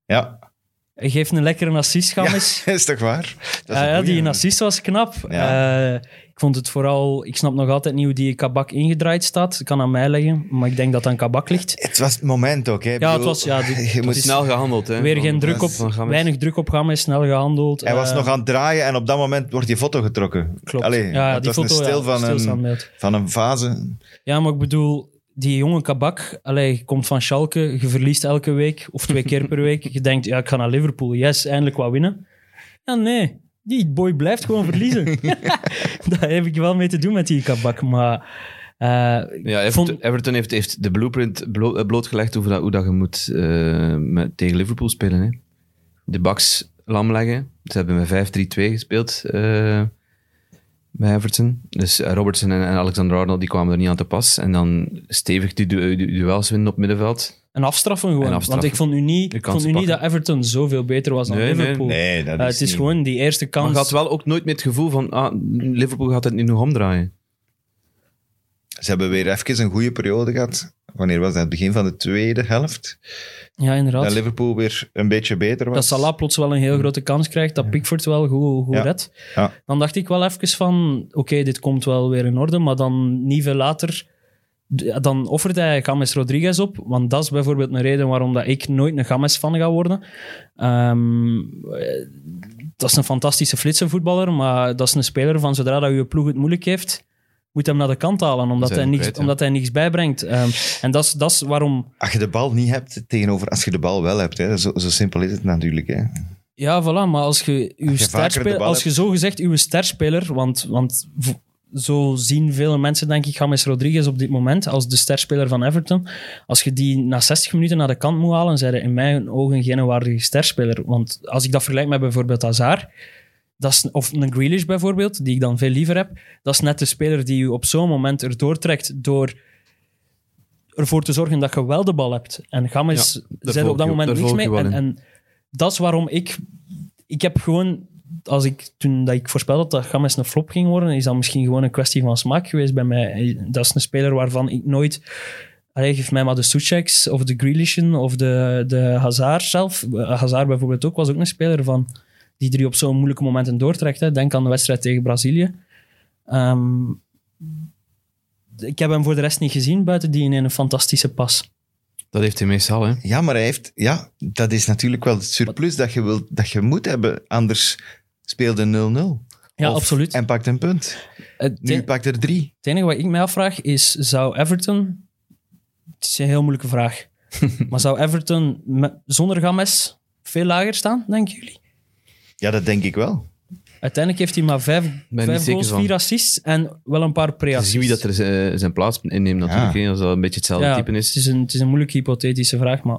hè. Ja, Hij geeft een lekkere assist, Games. is toch waar? Dat is Eh, Ja, een ja, goeie. die assist was knap. Ja. Eh, ik vond het vooral... Ik snap nog altijd niet hoe die kabak ingedraaid staat. Dat kan aan mij liggen, maar ik denk dat het aan kabak ligt. Het was het moment ook. Hè. Ik Ja, het bedoel, was... Ja, die- je dat moet is Snel gehandeld. Hè, Weer van- geen druk van- op... van Gamet. Weinig druk op Games, snel gehandeld. Hij was Eh, nog aan het draaien en op dat moment wordt die foto getrokken. Klopt. Allee, ja, het die was foto, een stil ja, van, een, stilstaandbeeld. van een fase. Ja, maar ik bedoel, die jonge kabak, allee, je komt van Schalke, je verliest elke week of twee keer per week. Je denkt, ja, ik ga naar Liverpool, yes, eindelijk wat winnen. Ja, nee, die boy blijft gewoon verliezen. Daar heb ik wel mee te doen met die kabak, maar... eh, Ja, Everton, Vond- Everton heeft, heeft de blueprint blo- eh, blootgelegd over dat, hoe dat je moet eh, met, tegen Liverpool spelen. Hè. De baks lam leggen. Ze hebben met 5-3-2 gespeeld eh, bij Everton. Dus eh, Robertson en, en Alexander Arnold die kwamen er niet aan te pas. En dan stevig die du- du- duels winnen op middenveld. en afstraffen gewoon. En afstraffen. Want ik vond nu niet, De ik kansen vond nu niet dat pakken. Everton zoveel beter was dan Nee, nee, Liverpool. Nee, dat Eh, is het is niet- gewoon die eerste Maar kans. je had wel ook nooit meer het gevoel van ah, Liverpool gaat het nu nog omdraaien. Ze hebben weer even een goede periode gehad. Wanneer was dat? Het begin van de tweede helft. Ja, inderdaad. Dat Liverpool weer een beetje beter was. Dat Salah plots wel een heel grote kans krijgt, dat Pickford wel goed, goed Ja. redt. Ja. Dan dacht ik wel even van, oké, dit komt wel weer in orde, maar dan niet veel later, d- dan offert hij James Rodriguez op, want dat is bijvoorbeeld een reden waarom dat ik nooit een James-fan ga worden. Ehm, eh, dat is een fantastische flitsenvoetballer, maar dat is een speler van zodra dat je ploeg het moeilijk heeft, moet hem naar de kant halen, omdat, Zijn hij niks, kwijt, ja. omdat hij niks bijbrengt. Ehm, en dat is- dat is waarom Als je de bal niet hebt tegenover als je de bal wel hebt. Hè. Zo, zo simpel is het natuurlijk. Hè. Ja, voilà, maar als je uw vaker de sterspeler, bal als je hebt. zo gezegd uw sterspeler, want, want v- zo zien vele mensen, denk ik, James Rodriguez op dit moment als de sterspeler van Everton. Als je die na 60 minuten naar de kant moet halen, zijn hij in mijn ogen geen waardige sterspeler. Want als ik dat vergelijk met bijvoorbeeld Hazard, dat is, of een Grealish bijvoorbeeld, die ik dan veel liever heb, dat is net de speler die u op zo'n moment erdoor trekt door ervoor te zorgen dat je wel de bal hebt. En James daar zei er volg op dat ik- moment daar niks volg ik mee. wel En, in. en dat is waarom ik... Ik heb gewoon... Als ik, toen dat ik voorspelde dat James een flop ging worden, is dat misschien gewoon een kwestie van smaak geweest bij mij. Dat is een speler waarvan ik nooit... Allee, geef mij maar de Sucheks of de Grealishen of de, de Hazard zelf. Eh, Hazard bijvoorbeeld ook, was ook een speler van die drie op zo'n moeilijke momenten doortrekt. Hè. Denk aan de wedstrijd tegen Brazilië. Ehm, ik heb hem voor de rest niet gezien, buiten die in een fantastische pas. Dat heeft hij meestal, hè. Ja, maar hij heeft, ja, dat is natuurlijk wel het surplus dat je, wilt, dat je moet hebben. Anders speelde 0-0. Ja, Of- absoluut. Eh, En pakt een punt. het, e- Nu het pakt er drie. enige wat ik mij afvraag is, zou Everton... Het is een heel moeilijke vraag. maar zou Everton met- zonder Games veel lager staan, denken jullie? Ja, dat denk ik wel. Uiteindelijk heeft hij maar vijf, niet vijf zeker goals, van. vier assists en wel een paar Je pre-assists. ziet wie dat er eh, zijn plaats inneemt natuurlijk, Ja. hè, als dat een beetje hetzelfde ja, type Het is. is, een, het is een moeilijke hypothetische vraag, maar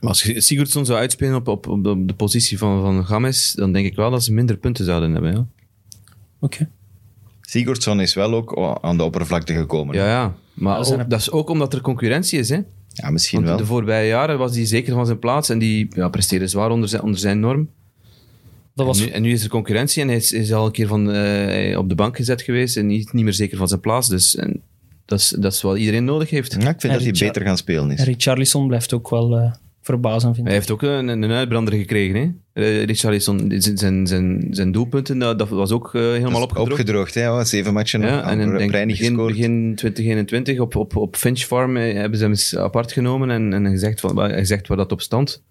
Maar als je Sigurdsson zou uitspelen op, op, op de- op de positie van, van Games, dan denk ik wel dat ze minder punten zouden hebben. Ja, oké. Sigurdsson is wel ook aan de oppervlakte gekomen. ja, ja. maar Dat dat is is, een- dat is ook omdat er concurrentie is. Hè? Ja, misschien Want wel. de voorbije jaren was hij zeker van zijn plaats en die ja, presteerde zwaar onder zijn, onder zijn norm. Dat was En, nu, en nu is er concurrentie en hij is, is al een keer van, eh, op de bank gezet geweest en niet, niet meer zeker van zijn plaats. Dus en dat, is, dat is wat iedereen nodig heeft. Ja, ik vind En dat hij Richard- beter gaan spelen is. En Richarlison blijft ook wel eh verbazend, vind Hij ik. heeft ook een, een uitbrander gekregen. Hè? Eh, Richarlison, zijn, zijn, zijn, zijn doelpunten, dat, dat was ook eh, helemaal Dat is opgedroogd. Opgedroogd, hè. hoor. Zeven matchen Ja, ja, en dan denk ik niet begin, gescoord. begin 2021 op, op, op Finch Farm eh, hebben ze hem eens apart genomen en, en gezegd, van, waar- gezegd waar dat op stond.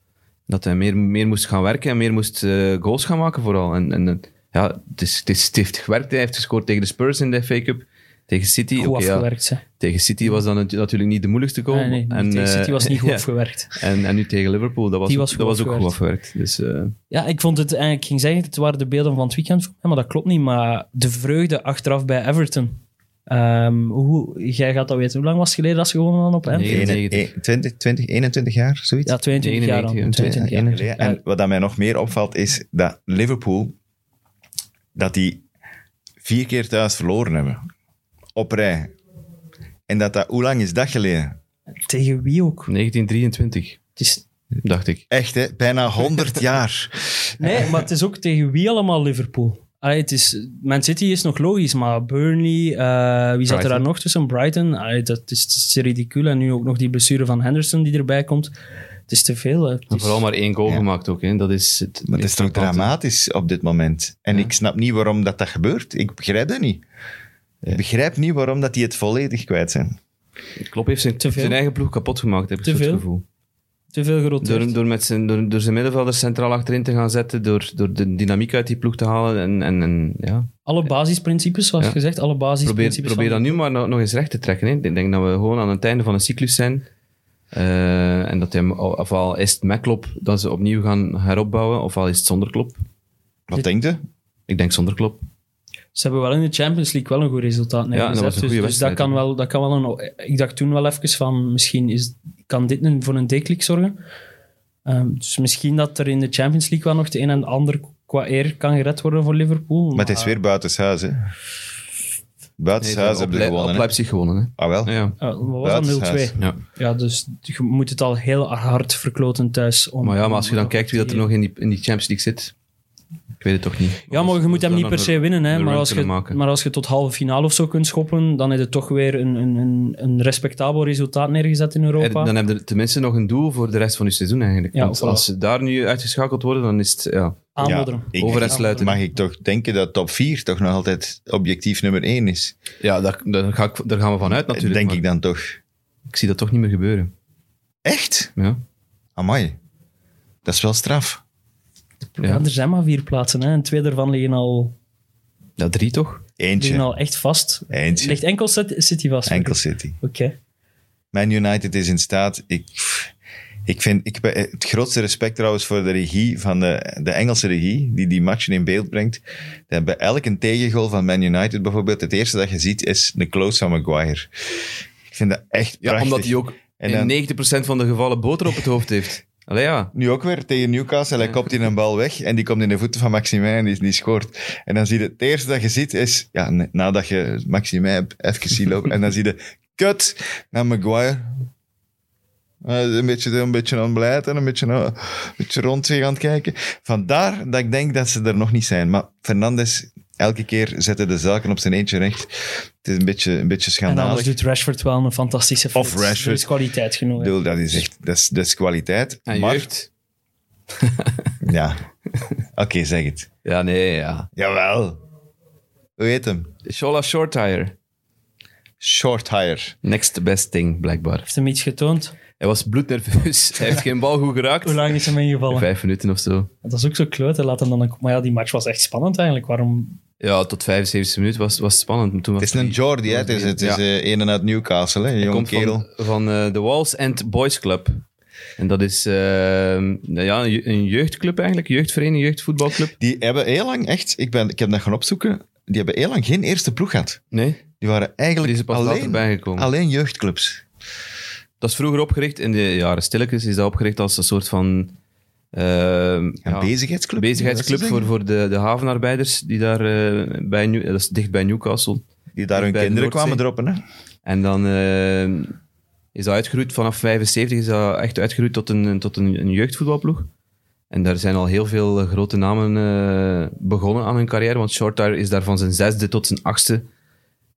Dat hij meer, meer moest gaan werken en meer moest eh, goals gaan maken vooral. En, en eh, ja, het, is, het, is, het heeft gewerkt. Hij heeft gescoord tegen de Spurs in de FA Cup. Tegen City, Goed oké, ja. afgewerkt, hè. tegen City was dan natu- natuurlijk niet de moeilijkste goal. Nee, nee, en, tegen eh, City was niet goed ja. afgewerkt. En, en nu tegen Liverpool, dat was, Die was ook, goed dat was ook goed afgewerkt. Dus, eh, Ja, ik vond het eigenlijk, ik ging zeggen, het waren de beelden van het weekend, voor mij, maar dat klopt niet. Maar de vreugde achteraf bij Everton. Ehm, hoe, jij gaat dat weten, hoe lang was het geleden dat ze gewonnen hadden op Anfield? Nee. 91. 21, 20, 20, 21 jaar, zoiets. Ja, 22 jaar dan. 91, 22 Ja, jaar. inderdaad. En wat dat mij nog meer opvalt is dat Liverpool dat die vier keer thuis verloren hebben. Op rij. En dat dat, hoe lang is dat geleden? Eh, Tegen wie ook? 1923, Het is, dacht ik. Echt, hè? Bijna 100 jaar. nee, maar het is ook tegen wie allemaal Liverpool? Allee, het is, Man City is nog logisch, maar Burnley, eh, wie zat er Brighton. daar nog tussen? Brighton, Allee, dat is, het is ridicuul. En nu ook nog die blessure van Henderson die erbij komt. Het is te veel. hè. Het En is- vooral maar één goal Ja. gemaakt ook. Hè. Dat is het Maar het is meest toch frappante. dramatisch op dit moment. En ik snap niet waarom dat, dat gebeurt. Ik begrijp dat niet. Ik begrijp niet waarom dat die het volledig kwijt zijn. Klopp heeft zijn, Te veel. zijn eigen ploeg kapot gemaakt, heb ik Te zo het veel. gevoel. Te veel geroteerd. Door, door, met zijn, door, door zijn middenvelder centraal achterin te gaan zetten, door, door de dynamiek uit die ploeg te halen. En, en, en ja. Alle basisprincipes, zoals Ja. gezegd, alle probeer, basisprincipes. probeer van- dat nu maar nog, nog eens recht te trekken. Hè. Ik denk dat we gewoon aan het einde van een cyclus zijn. Eh, en dat hij, ofwel is het met Klopp dat ze opnieuw gaan heropbouwen, ofwel is het zonder Klopp. Wat denkt u? Ik denk zonder Klopp. Ze hebben wel in de Champions League wel een goed resultaat neergezet. dat was een goede dus dus dat, wedstrijd, kan hè. wel, dat kan wel een... Ik dacht toen wel even van, misschien is, kan dit een, voor een deklik zorgen. Ehm, dus misschien dat er in de Champions League wel nog de een en de ander qua eer kan gered worden voor Liverpool. Maar het is weer buitenshuis, hè? Buitenshuis op, hebben ze Le- gewonnen. op hè? Leipzig gewonnen. Hè. Ah, wel. Ja. Eh, wat was dat? 0-2? Buitenshuis. Ja. Ja, dus je moet het al heel hard verkloten thuis. Om, Maar ja, maar als je dan om- kijkt wie dat er nog in die, in die Champions League zit, ik weet het toch niet. Ja, maar je moet hem niet per se winnen. Hè. een Maar, run als je, kunnen maken. maar als je tot halve finale of zo kunt schoppen, dan is het toch weer een, een, een, een respectabel resultaat neergezet in En Europa. dan hebben we tenminste nog een doel voor de rest van je seizoen eigenlijk. Ja, Want voilà. als ze daar nu uitgeschakeld worden, dan is het... Ja, Aanmodderen. Ja, ik- Over en sluiten. Mag ik toch denken dat top 4 toch nog altijd objectief nummer 1 is? ja daar, daar, ga ik, daar gaan we vanuit natuurlijk. Denk maar ik dan toch. ik zie dat toch niet meer gebeuren. Echt? Ja. Amai. Dat is wel straf. Ja. Ja. er zijn maar vier plaatsen hè. en twee daarvan liggen al Ja, drie toch? Die zijn Eentje. al echt vast. Eentje. Ligt enkel City City vast. Enkel City. Oké. Man United is in staat. Ik, ik vind ik, heb het grootste respect trouwens voor de regie van de, de Engelse regie, die die matchen in beeld brengt. Dat bij elke tegengoal van Man United bijvoorbeeld, het eerste dat je ziet is de close van Maguire. Ik vind dat echt Ja, prachtig. omdat hij ook En dan- in 90% van de gevallen boter op het hoofd heeft. Allee ja. Nu ook weer tegen Newcastle. Hij kopt in een bal weg en die komt in de voeten van Maximin en die, die scoort. En dan zie je het eerste dat je ziet is, ja, n- nadat je Maximin hebt even zien lopen, en dan zie je kut naar Maguire. Eh, een beetje, een beetje onblijd en een beetje, eh, een beetje rond zich aan het kijken. Vandaar dat ik denk dat ze er nog niet zijn. Maar Fernandes, elke keer zette de zaken op zijn eentje recht. Het is een beetje, een beetje En schandalig. anders doet Rashford wel een fantastische Of flits. Er Rashford. is kwaliteit Ik genoeg. hè. bedoel, dat is echt dat is, dat is kwaliteit. En maar, jeugd. Ja. Oké, zeg het. Ja, nee, ja. Jawel. Hoe heet hem? Shola Shortire. Short Hire. Next best thing, blijkbaar. Heeft hem iets getoond? Hij was bloednerveus. Hij heeft geen bal goed geraakt. Hoe lang is hem ingevallen? Vijf minuten of zo. Dat is ook zo klote. Laat hem dan een... Maar ja, die match was echt spannend eigenlijk. Waarom... Ja, tot 75 minuten was, was spannend. maar Toen was Het is een Jordi, hè? Het is, het is Ja. eh, een en uit Newcastle, hè? Een Hij jonge komt kerel. van, van eh, de Walls and Boys Club. En dat is eh, nou ja, een je- een jeugdclub eigenlijk. Jeugdvereniging, jeugdvoetbalclub. Die hebben heel lang echt, ik, ben, ik heb dat gaan opzoeken, die hebben heel lang geen eerste ploeg gehad. Nee, Die waren die eigenlijk is er pas later alleen, bijgekomen. alleen jeugdclubs. Dat is vroeger opgericht, in de jaren stilletjes is dat opgericht als een soort van... eh, Een ja, bezigheidsclub. bezigheidsclub Dat is het, voor, denk voor de, de havenarbeiders die daar eh, bij, New- dat is dicht bij Newcastle. ik. Die daar hun bij de kinderen kwamen Noordzee. droppen, hè? En dan eh, is dat uitgeroeid vanaf 75, is dat echt uitgeroeid tot een, tot een, een jeugdvoetbalploeg. En daar zijn al heel veel eh, grote namen eh, begonnen aan hun carrière, want Shortire is daar van zijn zesde tot zijn achtste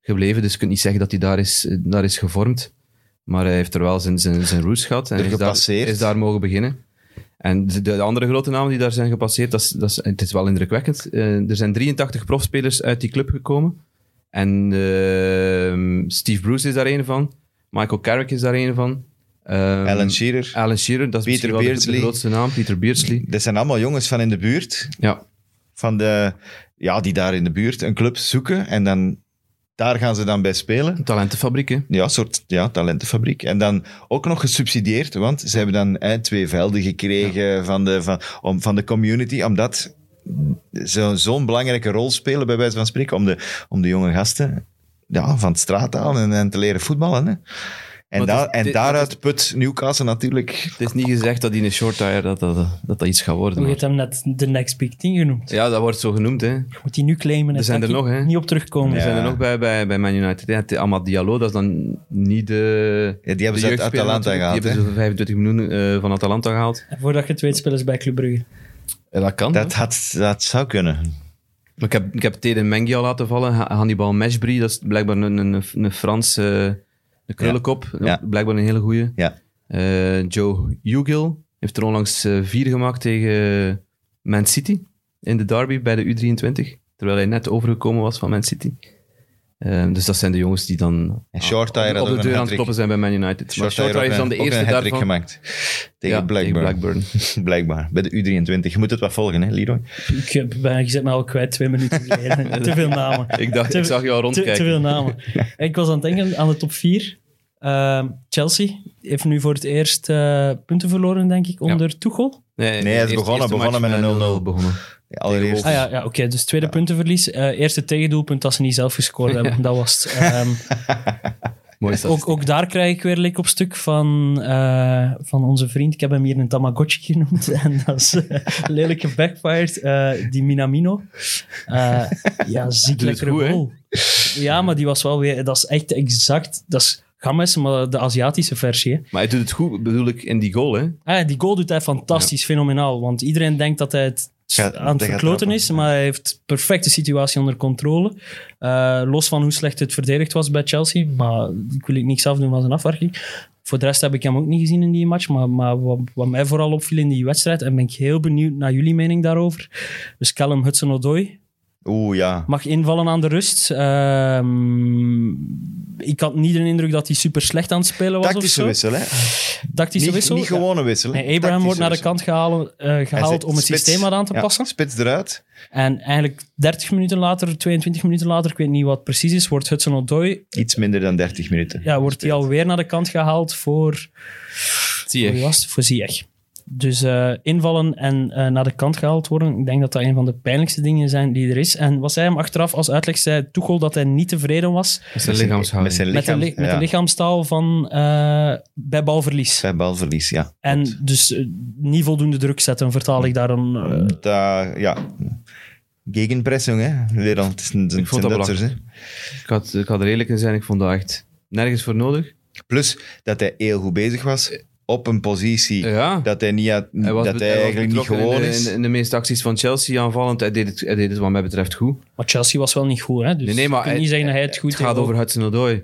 gebleven. Dus je kunt niet zeggen dat hij daar is, eh, daar is gevormd. Maar hij heeft er wel zijn, zijn, zijn roots gehad en Er is daar, gepasseerd. is daar mogen beginnen. En de, de andere grote namen die daar zijn gepasseerd, dat is, dat is, het is wel indrukwekkend. Eh, er zijn 83 profspelers uit die club gekomen. En ehm, Steve Bruce is daar een van. Michael Carrick is daar een van. Ehm, Alan Shearer. Alan Shearer, dat is Peter misschien wel de- Beardsley. de grootste naam. Peter Beardsley. Dat zijn allemaal jongens van in de buurt, Ja, van de, ja, die daar in de buurt een club zoeken en dan, daar gaan ze dan bij spelen. een talentenfabriek, hè. Ja, soort ja, talentenfabriek. En dan ook nog gesubsidieerd, want ze hebben dan eh, twee velden gekregen van, de, van, om, van de community, omdat ze zo'n belangrijke rol spelen, bij wijze van spreken, om de, om de jonge gasten ja, van de straat aan en, en te leren voetballen. Hè. En, Maar daar- het is- en dit- daaruit put Newcastle natuurlijk... Het is niet gezegd dat die een shortire dat dat, dat, dat iets gaat worden. Hoe maar- heeft hem net de next big thing genoemd? Ja, dat wordt zo genoemd, hè. Moet hij nu claimen? en Er zijn kan er ik nog, hè. Niet op terugkomen. We Ja. zijn er nog bij, bij, bij Man United. Ja, het- Amad Diallo, dat is dan niet de... Ja, die hebben ze uit jeugdspeler Atalanta natuurlijk. gehaald. Die hè. hebben ze 25 miljoen eh, van Atalanta gehaald. En Voordat je het weet, spelen ze bij Club Brugge. Ja, dat kan. Dat, had, dat zou kunnen. Maar ik heb, ik heb Teden Mengi al laten vallen. Ha- Hannibal Meshbri, dat is blijkbaar een, een, een Franse eh, een krullenkop. Ja. Blijkbaar een hele goeie. Ja. Eh, Joe Hugill heeft er onlangs eh, vier gemaakt tegen Man City in de derby bij de U23. Terwijl hij net overgekomen was van Man City. Eh, dus dat zijn de jongens die dan En Shortire had op, de- ook op een de deur aan het hat-trick. kloppen zijn bij Man United. Shortire Maar Shortire ook is dan een- de ook eerste een hat-trick daarvan. gemaakt. Tegen Ja, tegen Blackburn. Blackburn. Blijkbaar. Bij de U23. Je moet het wat volgen, hè, Leroy? Ik heb- ben je zet me al kwijt twee minuten geleden. te veel namen. Ik dacht, Te- ik zag jou al Te, rondkijken. te veel namen. Ik was aan het denken aan de top 4. Chelsea heeft nu voor het eerst eh, punten verloren, denk ik, onder Tuchel. Nee, het is eerst- begonnen- eerste begonnen match met een bij 0-0. begonnen. Allereerst. Ah ja, ja oké. Dus tweede puntenverlies. Eh, eerste tegendoelpunt dat ze niet zelf gescoord hebben. Dat was het. Ehm, Mooi is dat. ook, ook daar krijg ik weer lik op stuk van, eh, van onze vriend. Ik heb hem hier een Tamagotchi genoemd. En dat is eh, lelijk gebackfired. eh, die Minamino. Eh, ja, ziek Doet het lekkere goed, hè? goal. Ja, maar die was wel weer... Dat is echt exact... Dat is Games, maar de Aziatische versie. Hè. Maar hij doet het goed, bedoel ik, in die goal, hè. Ah, ja, die goal doet hij fantastisch, fenomenaal. Want iedereen denkt dat hij het Gaat- aan het hij gaat verkloten trappen. is, maar hij heeft perfecte situatie onder controle. Eh, los van hoe slecht het verdedigd was bij Chelsea, maar ik wil ik niks afdoen van zijn afwerking. Voor de rest heb ik hem ook niet gezien in die match, maar, maar wat, wat mij vooral opviel in die wedstrijd, en ben ik heel benieuwd naar jullie mening daarover, dus Callum Hudson-Odoi, Oeh, ja. Mag invallen aan de rust. Ehm, ik had niet de indruk dat hij super slecht aan het spelen was. Tactische of wissel, zo. hè? Tactische Niet, wissel. niet ja. gewone wissel. hè. Nee, Abraham wordt Tactische naar de wissel. kant gehaald, eh, Hij gehaald zet om het spits- systeem wat aan te ja, passen. Spits eruit. En eigenlijk 30 minuten later, 22 minuten later, ik weet niet wat precies is, wordt Hudson Odoi Iets minder dan 30 minuten. ja, wordt hij alweer naar de kant gehaald voor, Zie voor, wie was het? voor Ziyech. Dus eh, invallen en eh, naar de kant gehaald worden, ik denk dat dat een van de pijnlijkste dingen zijn die er is. En wat zij hem achteraf als uitleg zei, Tuchel, dat hij niet tevreden was Met zijn lichaamshouding. Met zijn met de, lichaam. li- met de ja. lichaamstaal van eh, bij balverlies. Bij balverlies, ja. En dus eh, niet voldoende druk zetten, vertaal ik daar een... eh, Da- ja. Gegenpressing, hè? Weer dan, het is een, Ik vond het dat zijn Duitsers, Ik, had, ik had er eerlijk in zijn, ik vond dat echt nergens voor nodig. hè. Plus dat hij heel goed bezig was op een positie. Ja. Dat hij, niet had- was dat be- hij was eigenlijk niet betrokken in de- gewoon In is. de, in de meeste acties van Chelsea aanvallend, hij deed het, hij deed het wat mij betreft goed. Maar Chelsea was wel niet goed, hè? Dus Nee, nee, maar je kunt hij- niet zeggen dat hij het goed het gaat deed. over Hudson-Odoi.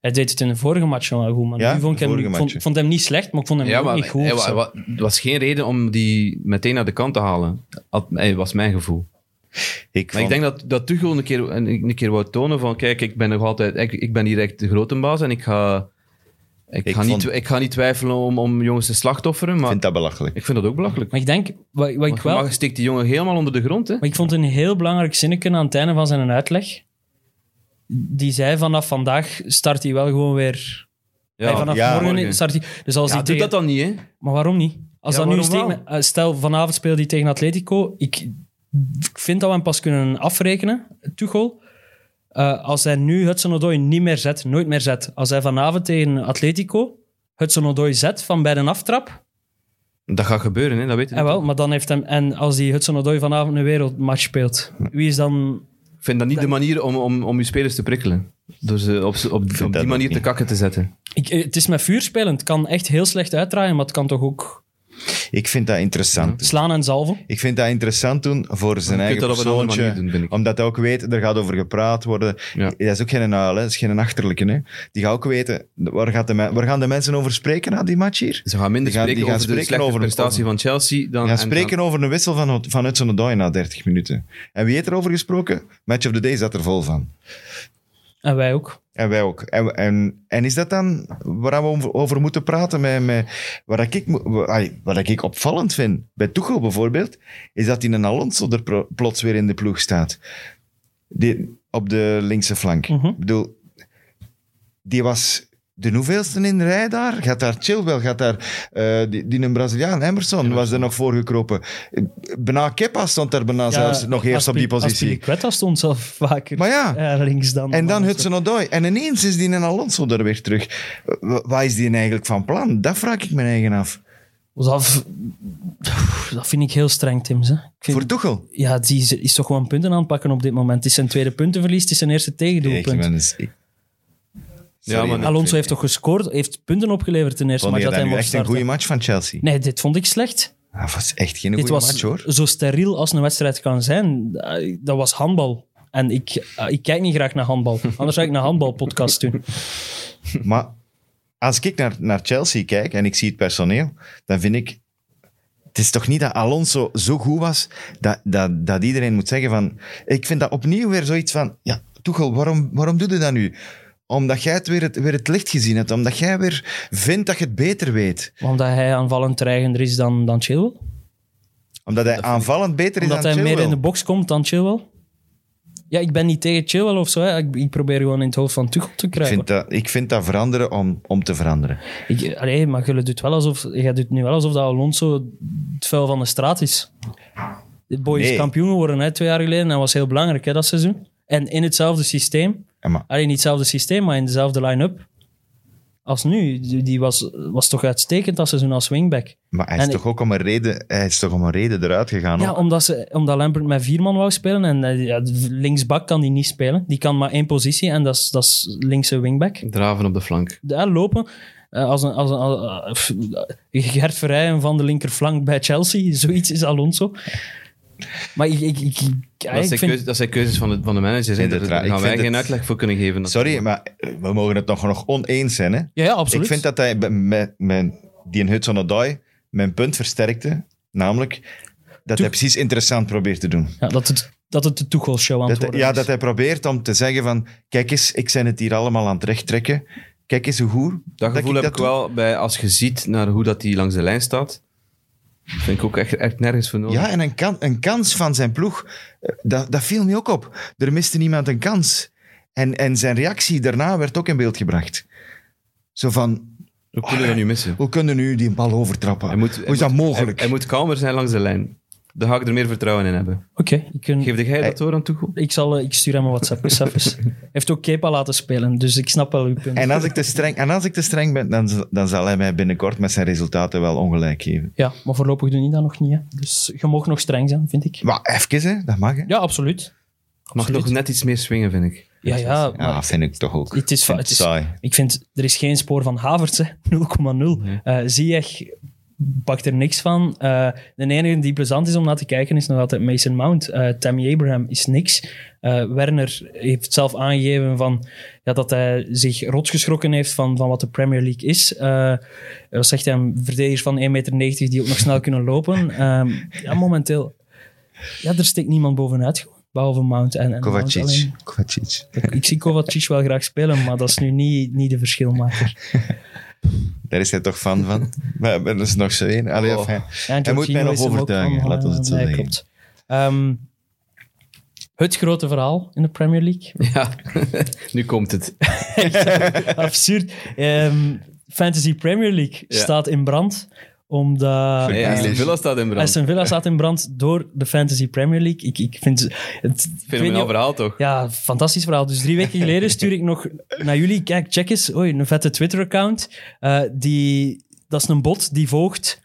Hij deed het in de vorige match wel goed, maar Ja, nu vond de ik hem, vorige ik vond, match. vond hem niet slecht, maar ik vond hem Ja, ook maar niet goed. hij of wa- zo. wa- het was geen reden om die meteen naar de kant te halen. Dat was mijn gevoel. Ik, Maar ik vond- denk dat, dat Tuchel een keer, een, een keer wou tonen van, kijk, ik ben nog altijd, ik, ik ben hier echt de grote baas en ik ga, ik Ik ga, vond- niet, ik ga niet twijfelen om, om jongens te slachtofferen, maar vind dat belachelijk. ik vind dat ook belachelijk. Maar ik denk, wat, wat ik Want je wel... mag- steekt die jongen helemaal onder de grond, hè. Maar ik vond een heel belangrijk zinnetje aan het einde van zijn uitleg. Die zei vanaf vandaag start hij wel gewoon weer... Ja, Hey, vanaf ja, morgen, morgen. start hij... Dus als Ja, hij doe tegen- dat dan niet, hè. Maar waarom niet? Als Ja, dat nu waarom steekt met- eh, stel, vanavond speelt hij tegen Atletico. Ik, ik vind dat we hem pas kunnen afrekenen, Tuchel. Eh, als hij nu Hudson-Odoi niet meer zet, nooit meer zet. Als hij vanavond tegen Atletico Hudson-Odoi zet van bij de aftrap. Dat gaat gebeuren, hè, dat weet je. Eh, wel, maar dan heeft hem, en als die Hudson-Odoi vanavond een wereldmatch speelt, wie is dan... Ik vind dat niet de manier om, om, om je spelers te prikkelen. Door ze op, ze- op, op, dat die ook manier niet. te kakken te zetten. Ik, eh, het is met vuur spelen. Het kan echt heel slecht uitdraaien, maar het kan toch ook Ik vind dat interessant. slaan en zalven. Ik vind dat interessant doen voor zijn Je kunt eigen dat op een andere persoontje. manier doen, vind ik. Omdat hij ook weet, er gaat over gepraat worden. Ja. Dat is ook geen huil, hè. dat is geen achterlijke. Hè. Die gaat ook weten, waar, gaat de me- waar gaan de mensen over spreken na die match hier? Ze gaan minder Die gaan- die spreken gaan over de spreken slechte over- prestatie van Chelsea dan... We gaan en spreken over een wissel van, van Hudson Odoi na 30 minuten. En wie heeft erover gesproken? Match of the Day zat er vol van. En wij ook. En wij ook. En, en, en is dat dan waar we over, over moeten praten? Met, met, wat, ik, mo- wa- ai, wat ik opvallend vind, bij Tuchel bijvoorbeeld, is dat in een Alonso er pro- plots weer in de ploeg staat. Die, op de linkse flank. Mhm. Ik bedoel, die was de hoeveelste in de rij daar? Gaat daar Chilwell, gaat daar eh, die, die een Braziliaan, Emerson, was er nog voorgekropen. Eh, Bena Kepa stond daar bijna zelfs nog eerst op die positie. Aspilicueta stond zelf vaker Maar ja. eh, links dan. En dan Alonso. Hudson-Odoi. En ineens is die een Alonso er weer terug. Eh, wa- Wat is die eigenlijk van plan? Dat vraag ik me eigen af. Dat, v- dat vind ik heel streng, Tims. Hè. Ik vind- Voor Tuchel? ja, die is, is toch gewoon punten aanpakken op dit moment. Het is zijn tweede puntenverlies, het is zijn eerste tegendoelpunt. Ja, maar- Alonso heeft toch gescoord, heeft punten opgeleverd ten eerste, Vond maar je dat dat hij nu mocht echt een goede starten. match van Chelsea? Nee, dit vond ik slecht. Dat was echt geen dit goede was match, hoor. zo steriel als een wedstrijd kan zijn. Eh, Dat was handbal. En ik, eh, ik kijk niet graag naar handbal. Anders zou ik een handbalpodcast doen. Maar als ik naar, naar Chelsea kijk en ik zie het personeel, dan vind ik... Het is toch niet dat Alonso zo goed was dat, dat, dat iedereen moet zeggen van... Ik vind dat opnieuw weer zoiets van... Ja, Tuchel, waarom, waarom doe je dat nu? Omdat jij het weer, het weer het licht gezien hebt. Omdat jij weer vindt dat je het beter weet. Omdat hij aanvallend dreigender is dan, dan Chilwell. Omdat hij aanvallend beter is Omdat hij dan Chilwell. meer in de box komt dan Chilwell. Ja, ik ben niet tegen Chilwell of zo. Hè. Ik, ik probeer gewoon in het hoofd van Tuchel te Ik krijgen. vind dat, ik vind dat veranderen om, om te veranderen. Ik, allee, maar je doet, wel alsof, jij doet nu wel alsof dat Alonso het vuil van de straat is. De boy is Nee. kampioen geworden hè, twee jaar geleden. En dat was heel belangrijk hè, dat seizoen. En in hetzelfde systeem. Ja, maar Alleen niet hetzelfde systeem, maar in dezelfde line-up. Als nu. Die die was, was toch uitstekend dat seizoen als wingback. maar hij is En toch ook om een reden, hij is toch om een reden eruit gegaan? Ja, ook? omdat, ze, omdat Lampert met vier man wou spelen. En eh, ja, linksbak kan die niet spelen. Die kan maar één positie en dat is, dat is linkse wingback. Draven op de flank. Daar lopen. eh, als een, als een, als, eh, pff, Gert Verheyen van de linkerflank bij Chelsea. Zoiets is Alonso. Maar ik, ik, ik, ik- ja, dat, zijn ik vind... keuze- dat zijn keuzes van de, van de managers. hè. vind Daar het raar. daar Ik gaan wij vind geen het- natuurlijk voor kunnen geven. Dat- Sorry, maar eh, we mogen het nog, nog oneens zijn, hè? Ja, ja, absoluut. Ik vind dat hij bij- met, met die in Hudson-Odoi mijn punt versterkte. Namelijk, Dat hij precies interessant probeert te doen. Ja, dat, het, dat het de Tuchel-show aan het Dat hij- worden ja, is. dat hij probeert om te zeggen van... Kijk eens, ik ben het hier allemaal aan het rechttrekken. Kijk eens hoe goed... Dat gevoel ik heb ik doe. wel bij als je ziet naar hoe dat hij langs de lijn staat. Vind ik ook echt, echt nergens voor nodig. Ja, en een, kan, een kans van zijn ploeg, eh, dat, dat viel me ook op. Er miste niemand een kans. En, en zijn reactie daarna werd ook in beeld gebracht. Zo van, Hoe kunnen we dat nu missen? hoe kunnen nu die bal overtrappen? Hij moet, hoe hij is dat moet- mogelijk? Hij, hij moet kalmer zijn langs de lijn. Daar ga ik er meer vertrouwen in hebben. Oké, ik kan- Geef jij dat door aan Tuchel? ik, zal, eh, ik stuur hem een WhatsApp. eens even. Hij heeft ook Kepa laten spelen, dus ik snap wel uw punt. en, als ik te streng, en als ik te streng ben, dan, z- dan zal hij mij binnenkort met zijn resultaten wel ongelijk geven. Ja, maar voorlopig doen die dat nog niet. Hè. Dus je mag nog streng zijn, vind ik. Maar even, hè, dat mag. Hè? Ja, absoluut. Mag Absoluut. toch net iets meer swingen, vind ik. Ja, ja. Ja, maar vind ik toch ook. Het Vind is, va- ik het is, saai. ik vind, er is geen spoor van Havertz, hè. 0,0. Nee. Eh Ziyech pakt er niks van. Eh, de enige die plezant is om naar te kijken is nog altijd Mason Mount. Eh, Tammy Abraham is niks. Eh, Werner heeft zelf aangegeven van, ja, dat hij zich rotgeschrokken heeft van, van wat de Premier League is. Eh dat zegt hij, verdedigers van 1,90 meter die ook nog snel kunnen lopen. Ehm, ja, momenteel. Ja, er steekt niemand bovenuit, gewoon, behalve Mount. En, en Mount alleen. Kovacic. Kovacic. Ik zie Kovacic wel graag spelen, maar dat is nu niet, niet de verschilmaker. Daar is hij toch fan van? maar, maar er is dus nog zo één. Allee, Oh. enfin. En Hij moet mij nog overtuigen, laat ons het eh, zo zeggen. Ehm, het grote verhaal in de Premier League. Ja, nu komt het. Absurd. Ehm, Fantasy Premier League Ja. staat in brand, omdat... Verdedigers. Nee, Aston Villa staat in brand. Aston Villa staat in brand door de Fantasy Premier League. Ik, ik vind het... ik weet niet Fenomenaal of- verhaal, toch? Ja, fantastisch verhaal. Dus drie weken geleden stuur ik nog naar jullie. Kijk, check eens. Oei, een vette Twitter-account. Eh, die, dat is een bot die volgt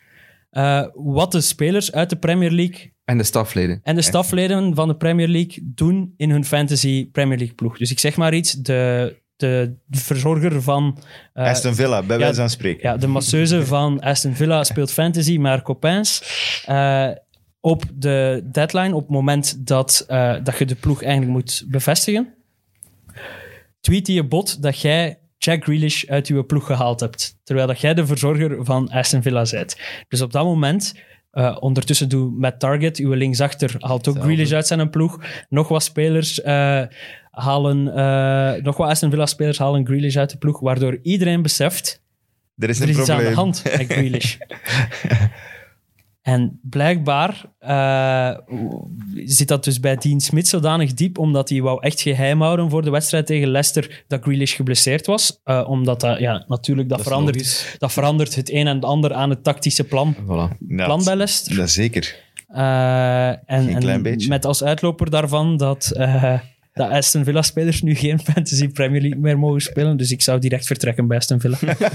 eh, wat de spelers uit de Premier League En de stafleden. en de stafleden van de Premier League doen in hun fantasy Premier League ploeg. Dus ik zeg maar iets, de, de verzorger van... eh, Aston Villa, bij ja, wijze van spreken. ja, de masseuse van Aston Villa speelt fantasy, maar Copains. eh, op de deadline, op het moment dat, eh, dat je de ploeg eigenlijk moet bevestigen, tweet je bot dat jij Jack Grealish uit je ploeg gehaald hebt. Terwijl dat jij de verzorger van Aston Villa bent. Dus op dat moment, eh, ondertussen doe met Target, uw linksachter haalt ook Grealish uit zijn ploeg. Nog wat spelers eh, halen, eh, nog wat Aston Villa spelers halen Grealish uit de ploeg, waardoor iedereen beseft Er is er een is iets aan probleem. de hand met Grealish. en blijkbaar eh, zit dat dus bij Dean Smit zodanig diep, omdat hij wou echt geheim houden voor de wedstrijd tegen Leicester dat Grealish geblesseerd was. Eh, omdat dat, ja, natuurlijk, dat, is verandert, logisch. dat verandert het een en het ander aan het tactische plan, Voilà. Ja, plan bij Leicester. Dat zeker. Eh, en Geen klein en beetje. met als uitloper daarvan dat, eh, dat Aston Villa-spelers nu geen Fantasy Premier League meer mogen spelen. Dus ik zou direct vertrekken bij Aston Villa. Ja,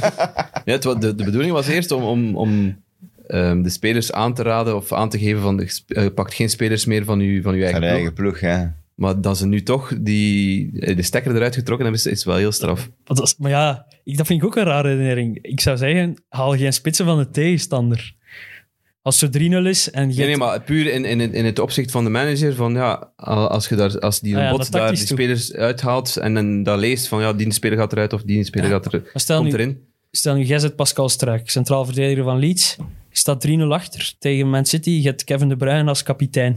het wa- de, de bedoeling was eerst om, om, om ehm, de spelers aan te raden of aan te geven van de, sp- eh, pakt geen spelers meer van uw, van uw eigen Van ploeg. eigen ploeg, ja. Maar dat ze nu toch die, eh, de stekker eruit getrokken hebben, is, is wel heel straf. Want als- maar ja, ik, dat vind ik ook een rare herinnering. Ik zou zeggen, haal geen spitsen van de tegenstander. Als het 3-0 is en je... Nee, nee, hebt- maar puur in, in, in het opzicht van de manager, van ja, al- als, je daar, als die Ah ja, dat bot daar die tactisch toe. spelers uithaalt en dan dat leest van ja, die speler gaat eruit of die speler gaat er, Maar stel, komt nu, erin. stel nu, jij zet Pascal Struik, centraal verdediger van Leeds. Je staat 3-0 achter tegen Man City. Je hebt Kevin De Bruyne als kapitein.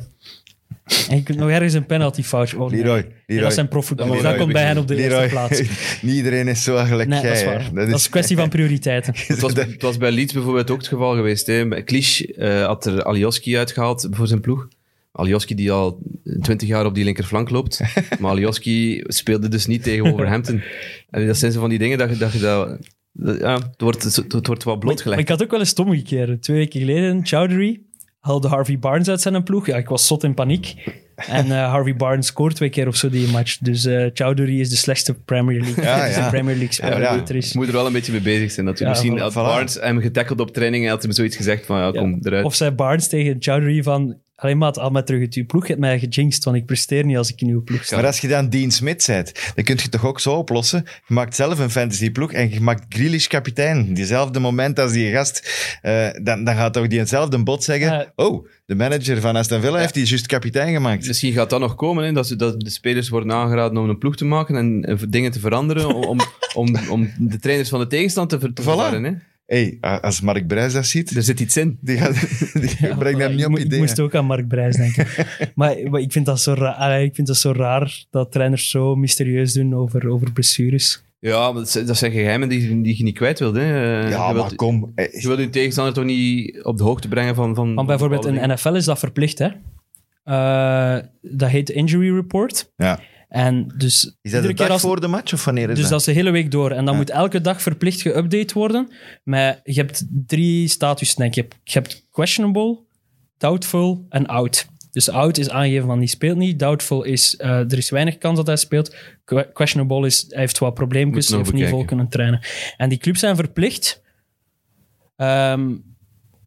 En je kunt nog ergens een penalty fout worden. Leroy, Leroy. dat zijn profvoetballers. Leroy, Dat komt bij hen op de Leroy, eerste plaats. Niet iedereen is zo gelijk Nee, dat jij. is hè. waar. Dat is een kwestie van prioriteiten. Het was, het was bij Leeds bijvoorbeeld ook het geval geweest. Hè. Klisch eh, had er Alioski uitgehaald voor zijn ploeg. Alioski die al twintig jaar op die linkerflank loopt. Maar Alioski speelde dus niet tegen Wolverhampton. En dat zijn zo van die dingen dat je dat... Je dat dat- ja, het, wordt, het, het wordt wat Maar blootgelegd. ik had ook wel eens het omgekeerd. Twee weken geleden, Chowdhury haalde Harvey Barnes uit zijn ploeg. Ja, ik was zot in paniek. En eh, Harvey Barnes scoort twee keer of zo die match. Dus eh Chowdhury is de slechtste Premier League. Ja, Ja, is ja. de Premier League speler Ja, ja. die er is. Je moet er wel een beetje mee bezig zijn. Natuurlijk. Ja, Misschien voilà. had Voilà. Barnes hem getackeld op training en had hem zoiets gezegd van ja, Ja. kom eruit. Of zei Barnes tegen Chowdhury van... Alleen maat, al met terug uit uw ploeg. Je hebt mij gejinxed, want ik presteer niet als ik in uw ploeg sta. Maar als je dan Dean Smit bent, dan kun je het toch ook zo oplossen. Je maakt zelf een fantasy ploeg en je maakt Grealish kapitein. Diezelfde moment als die gast, eh, dan, dan gaat toch diezelfde bot zeggen: Ja. Oh, de manager van Aston Villa heeft die juist kapitein gemaakt. Dus Dus- Misschien gaat dat nog komen, hè, dat, ze- dat de spelers worden aangeraden om een ploeg te maken en eh, dingen te veranderen om, om, om, om de trainers van de tegenstand te ver- te Voilà. verwarren. Hè. hey, a- als Mark Brijs dat ziet, Er zit iets in. die, gaat, die brengt hem voilà, niet Dus- ik op mo- Ik ideeën. moest ook aan Mark Brijs denken. maar, maar ik, vind dat zo raar, allee, ik vind dat zo raar dat trainers zo mysterieus doen over, over blessures. Ja, maar dat zijn- dat zijn geheimen die, die je niet kwijt wilt. Hè. Eh, Ja, je maar wilt, kom. eh, je wilt je tegenstander toch niet op de hoogte brengen van... van Want bijvoorbeeld in bepaalde NFL is dat verplicht, hè? Eh, dat heet injury report. Ja. En dus Is dat de dag als, voor de match of wanneer is Dus dat? dat is de hele week door. En dan Ja. moet elke dag verplicht geüpdate worden. Maar je hebt drie statussen, denk ik. Je hebt, je hebt questionable, doubtful en out. Dus out is aangegeven van die speelt niet. Doubtful is eh, er is weinig kans dat hij speelt. Que- Questionable is hij heeft wat Moet probleempjes, nog hij heeft niet bekijken. vol kunnen trainen. En die clubs zijn verplicht ehm,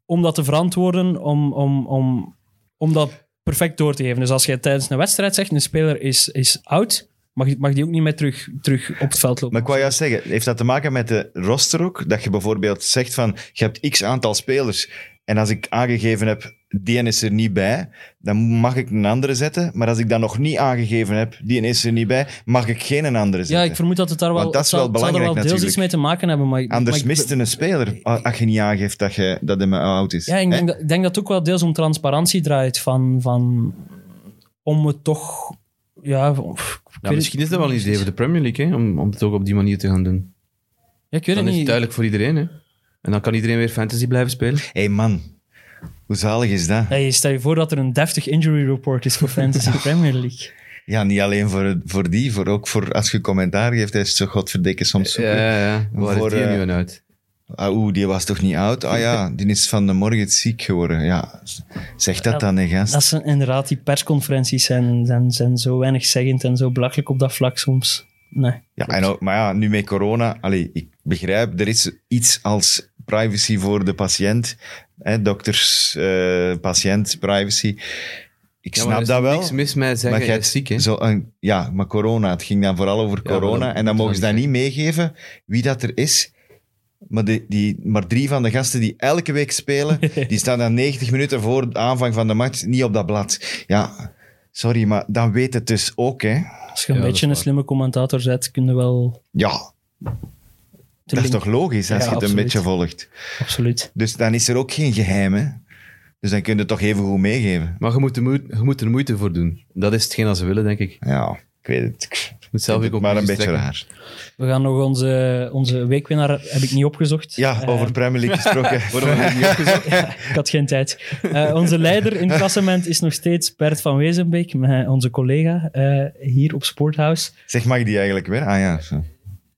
om dat te verantwoorden, om, om, om, om dat perfect door te geven. Dus als je tijdens een wedstrijd zegt, een speler is, is out, mag, mag die ook niet meer terug, terug op het veld lopen. Maar ik wou juist zeggen, heeft dat te maken met de roster ook? Dat je bijvoorbeeld zegt van, je hebt x aantal spelers en als ik aangegeven heb, die ene is er niet bij, dan mag ik een andere zetten. Maar als ik dat nog niet aangegeven heb, die ene is er niet bij, mag ik geen andere Ja, zetten. ik vermoed dat het daar wel, Want dat is het zal- wel het zal er wel belangrijk deels iets mee natuurlijk. te maken hebben. Maar, Anders maar ik- Eh, mist een speler a- als je niet aangeeft dat, je, dat hij me oud is. Ja, ik denk, dat, ik denk dat het ook wel deels om transparantie draait. Van, van, om het toch... Ja, pff, ik Ja, weet misschien het- is dat wel een idee voor de Premier League, hè, om, om het ook op die manier te gaan doen. Ja, ik weet Dan is het het niet. duidelijk voor iedereen. Hè. En dan kan iedereen weer fantasy blijven spelen. Hé hey man, hoe zalig is dat? Hey, stel je voor dat er een deftig injury report is voor Fantasy Premier League. Ja, niet alleen voor, voor die, voor, ook voor als je commentaar geeft, hij is zo godverdikke soms Ja, zoeken. ja, ja. Waar Voor, is die eh, nu aan uit? Ah, oeh, die was toch niet oud? Ah ja, die is van de morgen ziek geworden. Ja, zeg dat dan, hè, gast. Dat zijn inderdaad, die persconferenties zijn, zijn, zijn zo weinig zeggend en zo belachelijk op dat vlak soms. Nee. Ja, en ook, maar ja, nu met corona, allee, ik begrijp, er is iets als privacy voor de patiënt. Hè, dokters, eh, patiënt, privacy. Ik Ja, maar snap er is dat wel. niks mis met zeggen, maar jij je is ziek, hè. zo een, ja, maar corona, het ging dan vooral over Ja, maar corona. dat en dan moet mogen ze wel dat niet meegeven, wie dat er is. Maar, de, die, maar drie van de gasten die elke week spelen, die staan dan 90 minuten voor de aanvang van de match niet op dat blad. Ja, sorry, maar dan weet het dus ook, hè. Als je Ja, een dat is beetje een waar. slimme commentator zet, kun je wel... Ja, te dat is link- toch logisch als Ja, je het een absoluut. beetje volgt. Absoluut. Dus dan is er ook geen geheim, hè? Dus dan kun je het toch even goed meegeven. Maar je moet, er moe- je moet er moeite voor doen. Dat is hetgeen dat ze willen, denk ik. Ja, ik weet het. Ik Je moet zelf vind ook het maar een beetje conclusies trekken. raar. We gaan nog onze, onze weekwinnaar, heb ik niet opgezocht. Ja, Eh, over Premier League gesproken. Ik had geen tijd. Eh, onze leider in het klassement is nog steeds Bert van Wezenbeek, mijn- onze collega eh, hier op Sporthouse. zeg, mag die eigenlijk weer? Ah ja, zo.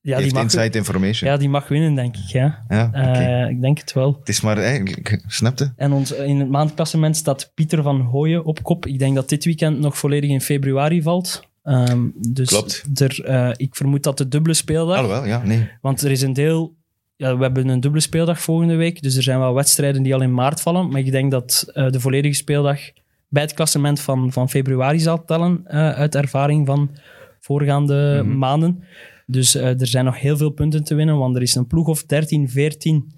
Ja, die heeft mag, inside information. ja, die mag winnen, denk ik. Ja. Ja, oké. Eh, ik denk het wel. Het is maar... hè, ik- ik- snap je? En ons, in het maandklassement staat Pieter van Hooyen op kop. Ik denk dat dit weekend nog volledig in februari valt. Ehm, dus Klopt. Ah, Er, eh, ik vermoed dat de dubbele speeldag... Alhoewel, ja, nee. Want er is een deel. Ja, we hebben een dubbele speeldag volgende week. Dus er zijn wel wedstrijden die al in maart vallen. Maar ik denk dat eh, de volledige speeldag bij het klassement van, van februari zal tellen. eh, uit ervaring van voorgaande Mhm. maanden. Dus eh, er zijn nog heel veel punten te winnen. Want er is een ploeg of 13, 14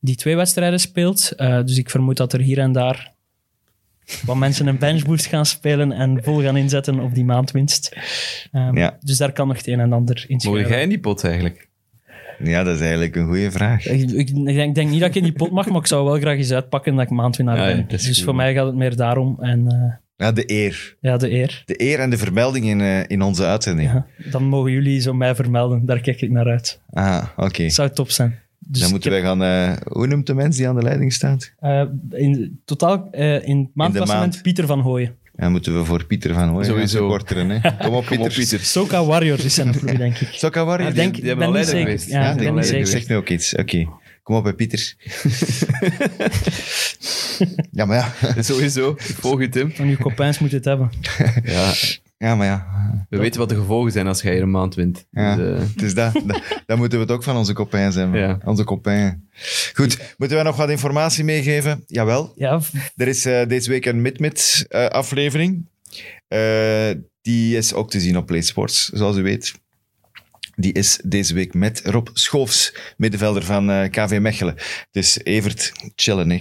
die twee wedstrijden speelt. Eh, dus ik vermoed dat er hier en daar wat mensen een benchboost gaan spelen. En vol gaan inzetten op die maandwinst. Ehm, Ja. Dus daar kan nog het een en ander in Mogen schuilen. jij in die pot eigenlijk? Ja, dat is eigenlijk een goede vraag. Ik, ik, ik denk, ik denk niet dat ik in die pot mag, maar ik zou wel graag eens uitpakken dat ik maandwinnaar Ja, ja, ben. dat is dus goed, voor man. mij gaat het meer daarom. En eh, Ja, de eer. ja, de eer. De eer en de vermelding in, eh, in onze uitzending. Ja. Dan mogen jullie zo mij vermelden. Daar kijk ik naar uit. Ah, oké. Dat zou top zijn. Dus dan ik moeten heb, wij gaan... eh, hoe noemt de mens die aan de leiding staat? eh, in totaal eh, in het maandklassement maand. Pieter van Hooyen. Dan moeten we voor Pieter van Hooyen Sowieso. gaan supporteren. Hè. Kom op, Pieter. Soka Warriors is zijn ploeg, denk ik. Sokka Warriors. Ik denk, die ik hebben ben al niet leider zeker. geweest. Ja, Ja, ik de ben niet leider zeker. zegt nu nou ook iets. Oké. Kom op, hè, Pieter. ja, maar ja. Sowieso. Ik volg je, Tim. Van uw copains moet het hebben. Ja, Ja, maar ja. we weten wat de gevolgen zijn als jij hier een maand wint. Ja. Dus, eh, Het is dat. Da- Dan moeten we het ook van onze copains hebben. Ja. Onze copains. Goed, moeten wij nog wat informatie meegeven? Jawel. Ja, Er is eh, deze week een mid-mid eh, aflevering. Eh, die is ook te zien op PlaySports, zoals u weet. die is deze week met Rob Schoofs, middenvelder van eh, KV Mechelen. Dus Evert, chillen, hè.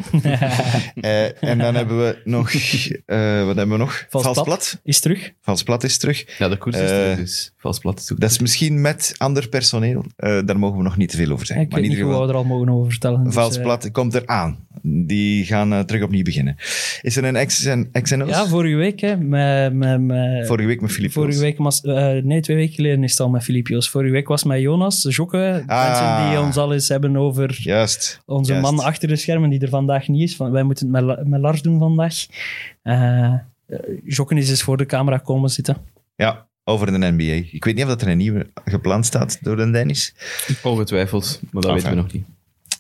Eh, en dan hebben we nog... eh, wat hebben we nog? Vals plat. plat. Is terug. Vals plat is terug. Ja, de koers is Eh, terug, dus vals plat is ook Dat is misschien met ander personeel. Eh, daar mogen we nog niet te veel over Ik zeggen. weet niet hoe we er al mogen over vertellen. dus, Vals eh, plat komt eraan. Die gaan eh, terug opnieuw beginnen. Is er een X en, X en O's? ja, vorige week. Hè, met, met, met, Vorige week met Filip Vorige Oels. week was, eh, nee, twee weken geleden is het al met Filipios. Vorige week was met Jonas, Jokke. de Ah. Mensen die ons al eens hebben over Juist. onze juist. man achter de schermen, die er vandaag niet is. Van, wij moeten het met, La- met Lars doen vandaag. Eh eh, Jokke is eens voor de camera komen zitten. Ja, over de NBA. Ik weet niet of dat er een nieuwe gepland staat door de Dennis. ongetwijfeld, maar dat Enfin. weten we nog niet.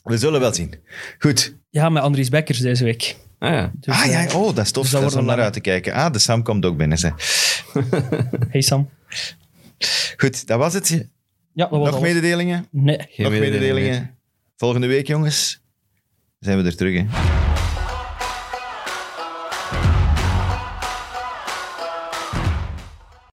We zullen wel zien. Goed. Ja, met Andries Bekkers deze week. Ah ja, Dus, ah eh, ja, oh, dat is tof. dus dat dat wordt is om een naar lange. uit te kijken. Ah, de Sam komt ook binnen. Zeg. Hey Sam. Goed, dat was het. Ja, dat was Nog alles. mededelingen? Nee. geen Nog mededelingen? Volgende week, jongens, zijn we er terug. Hè.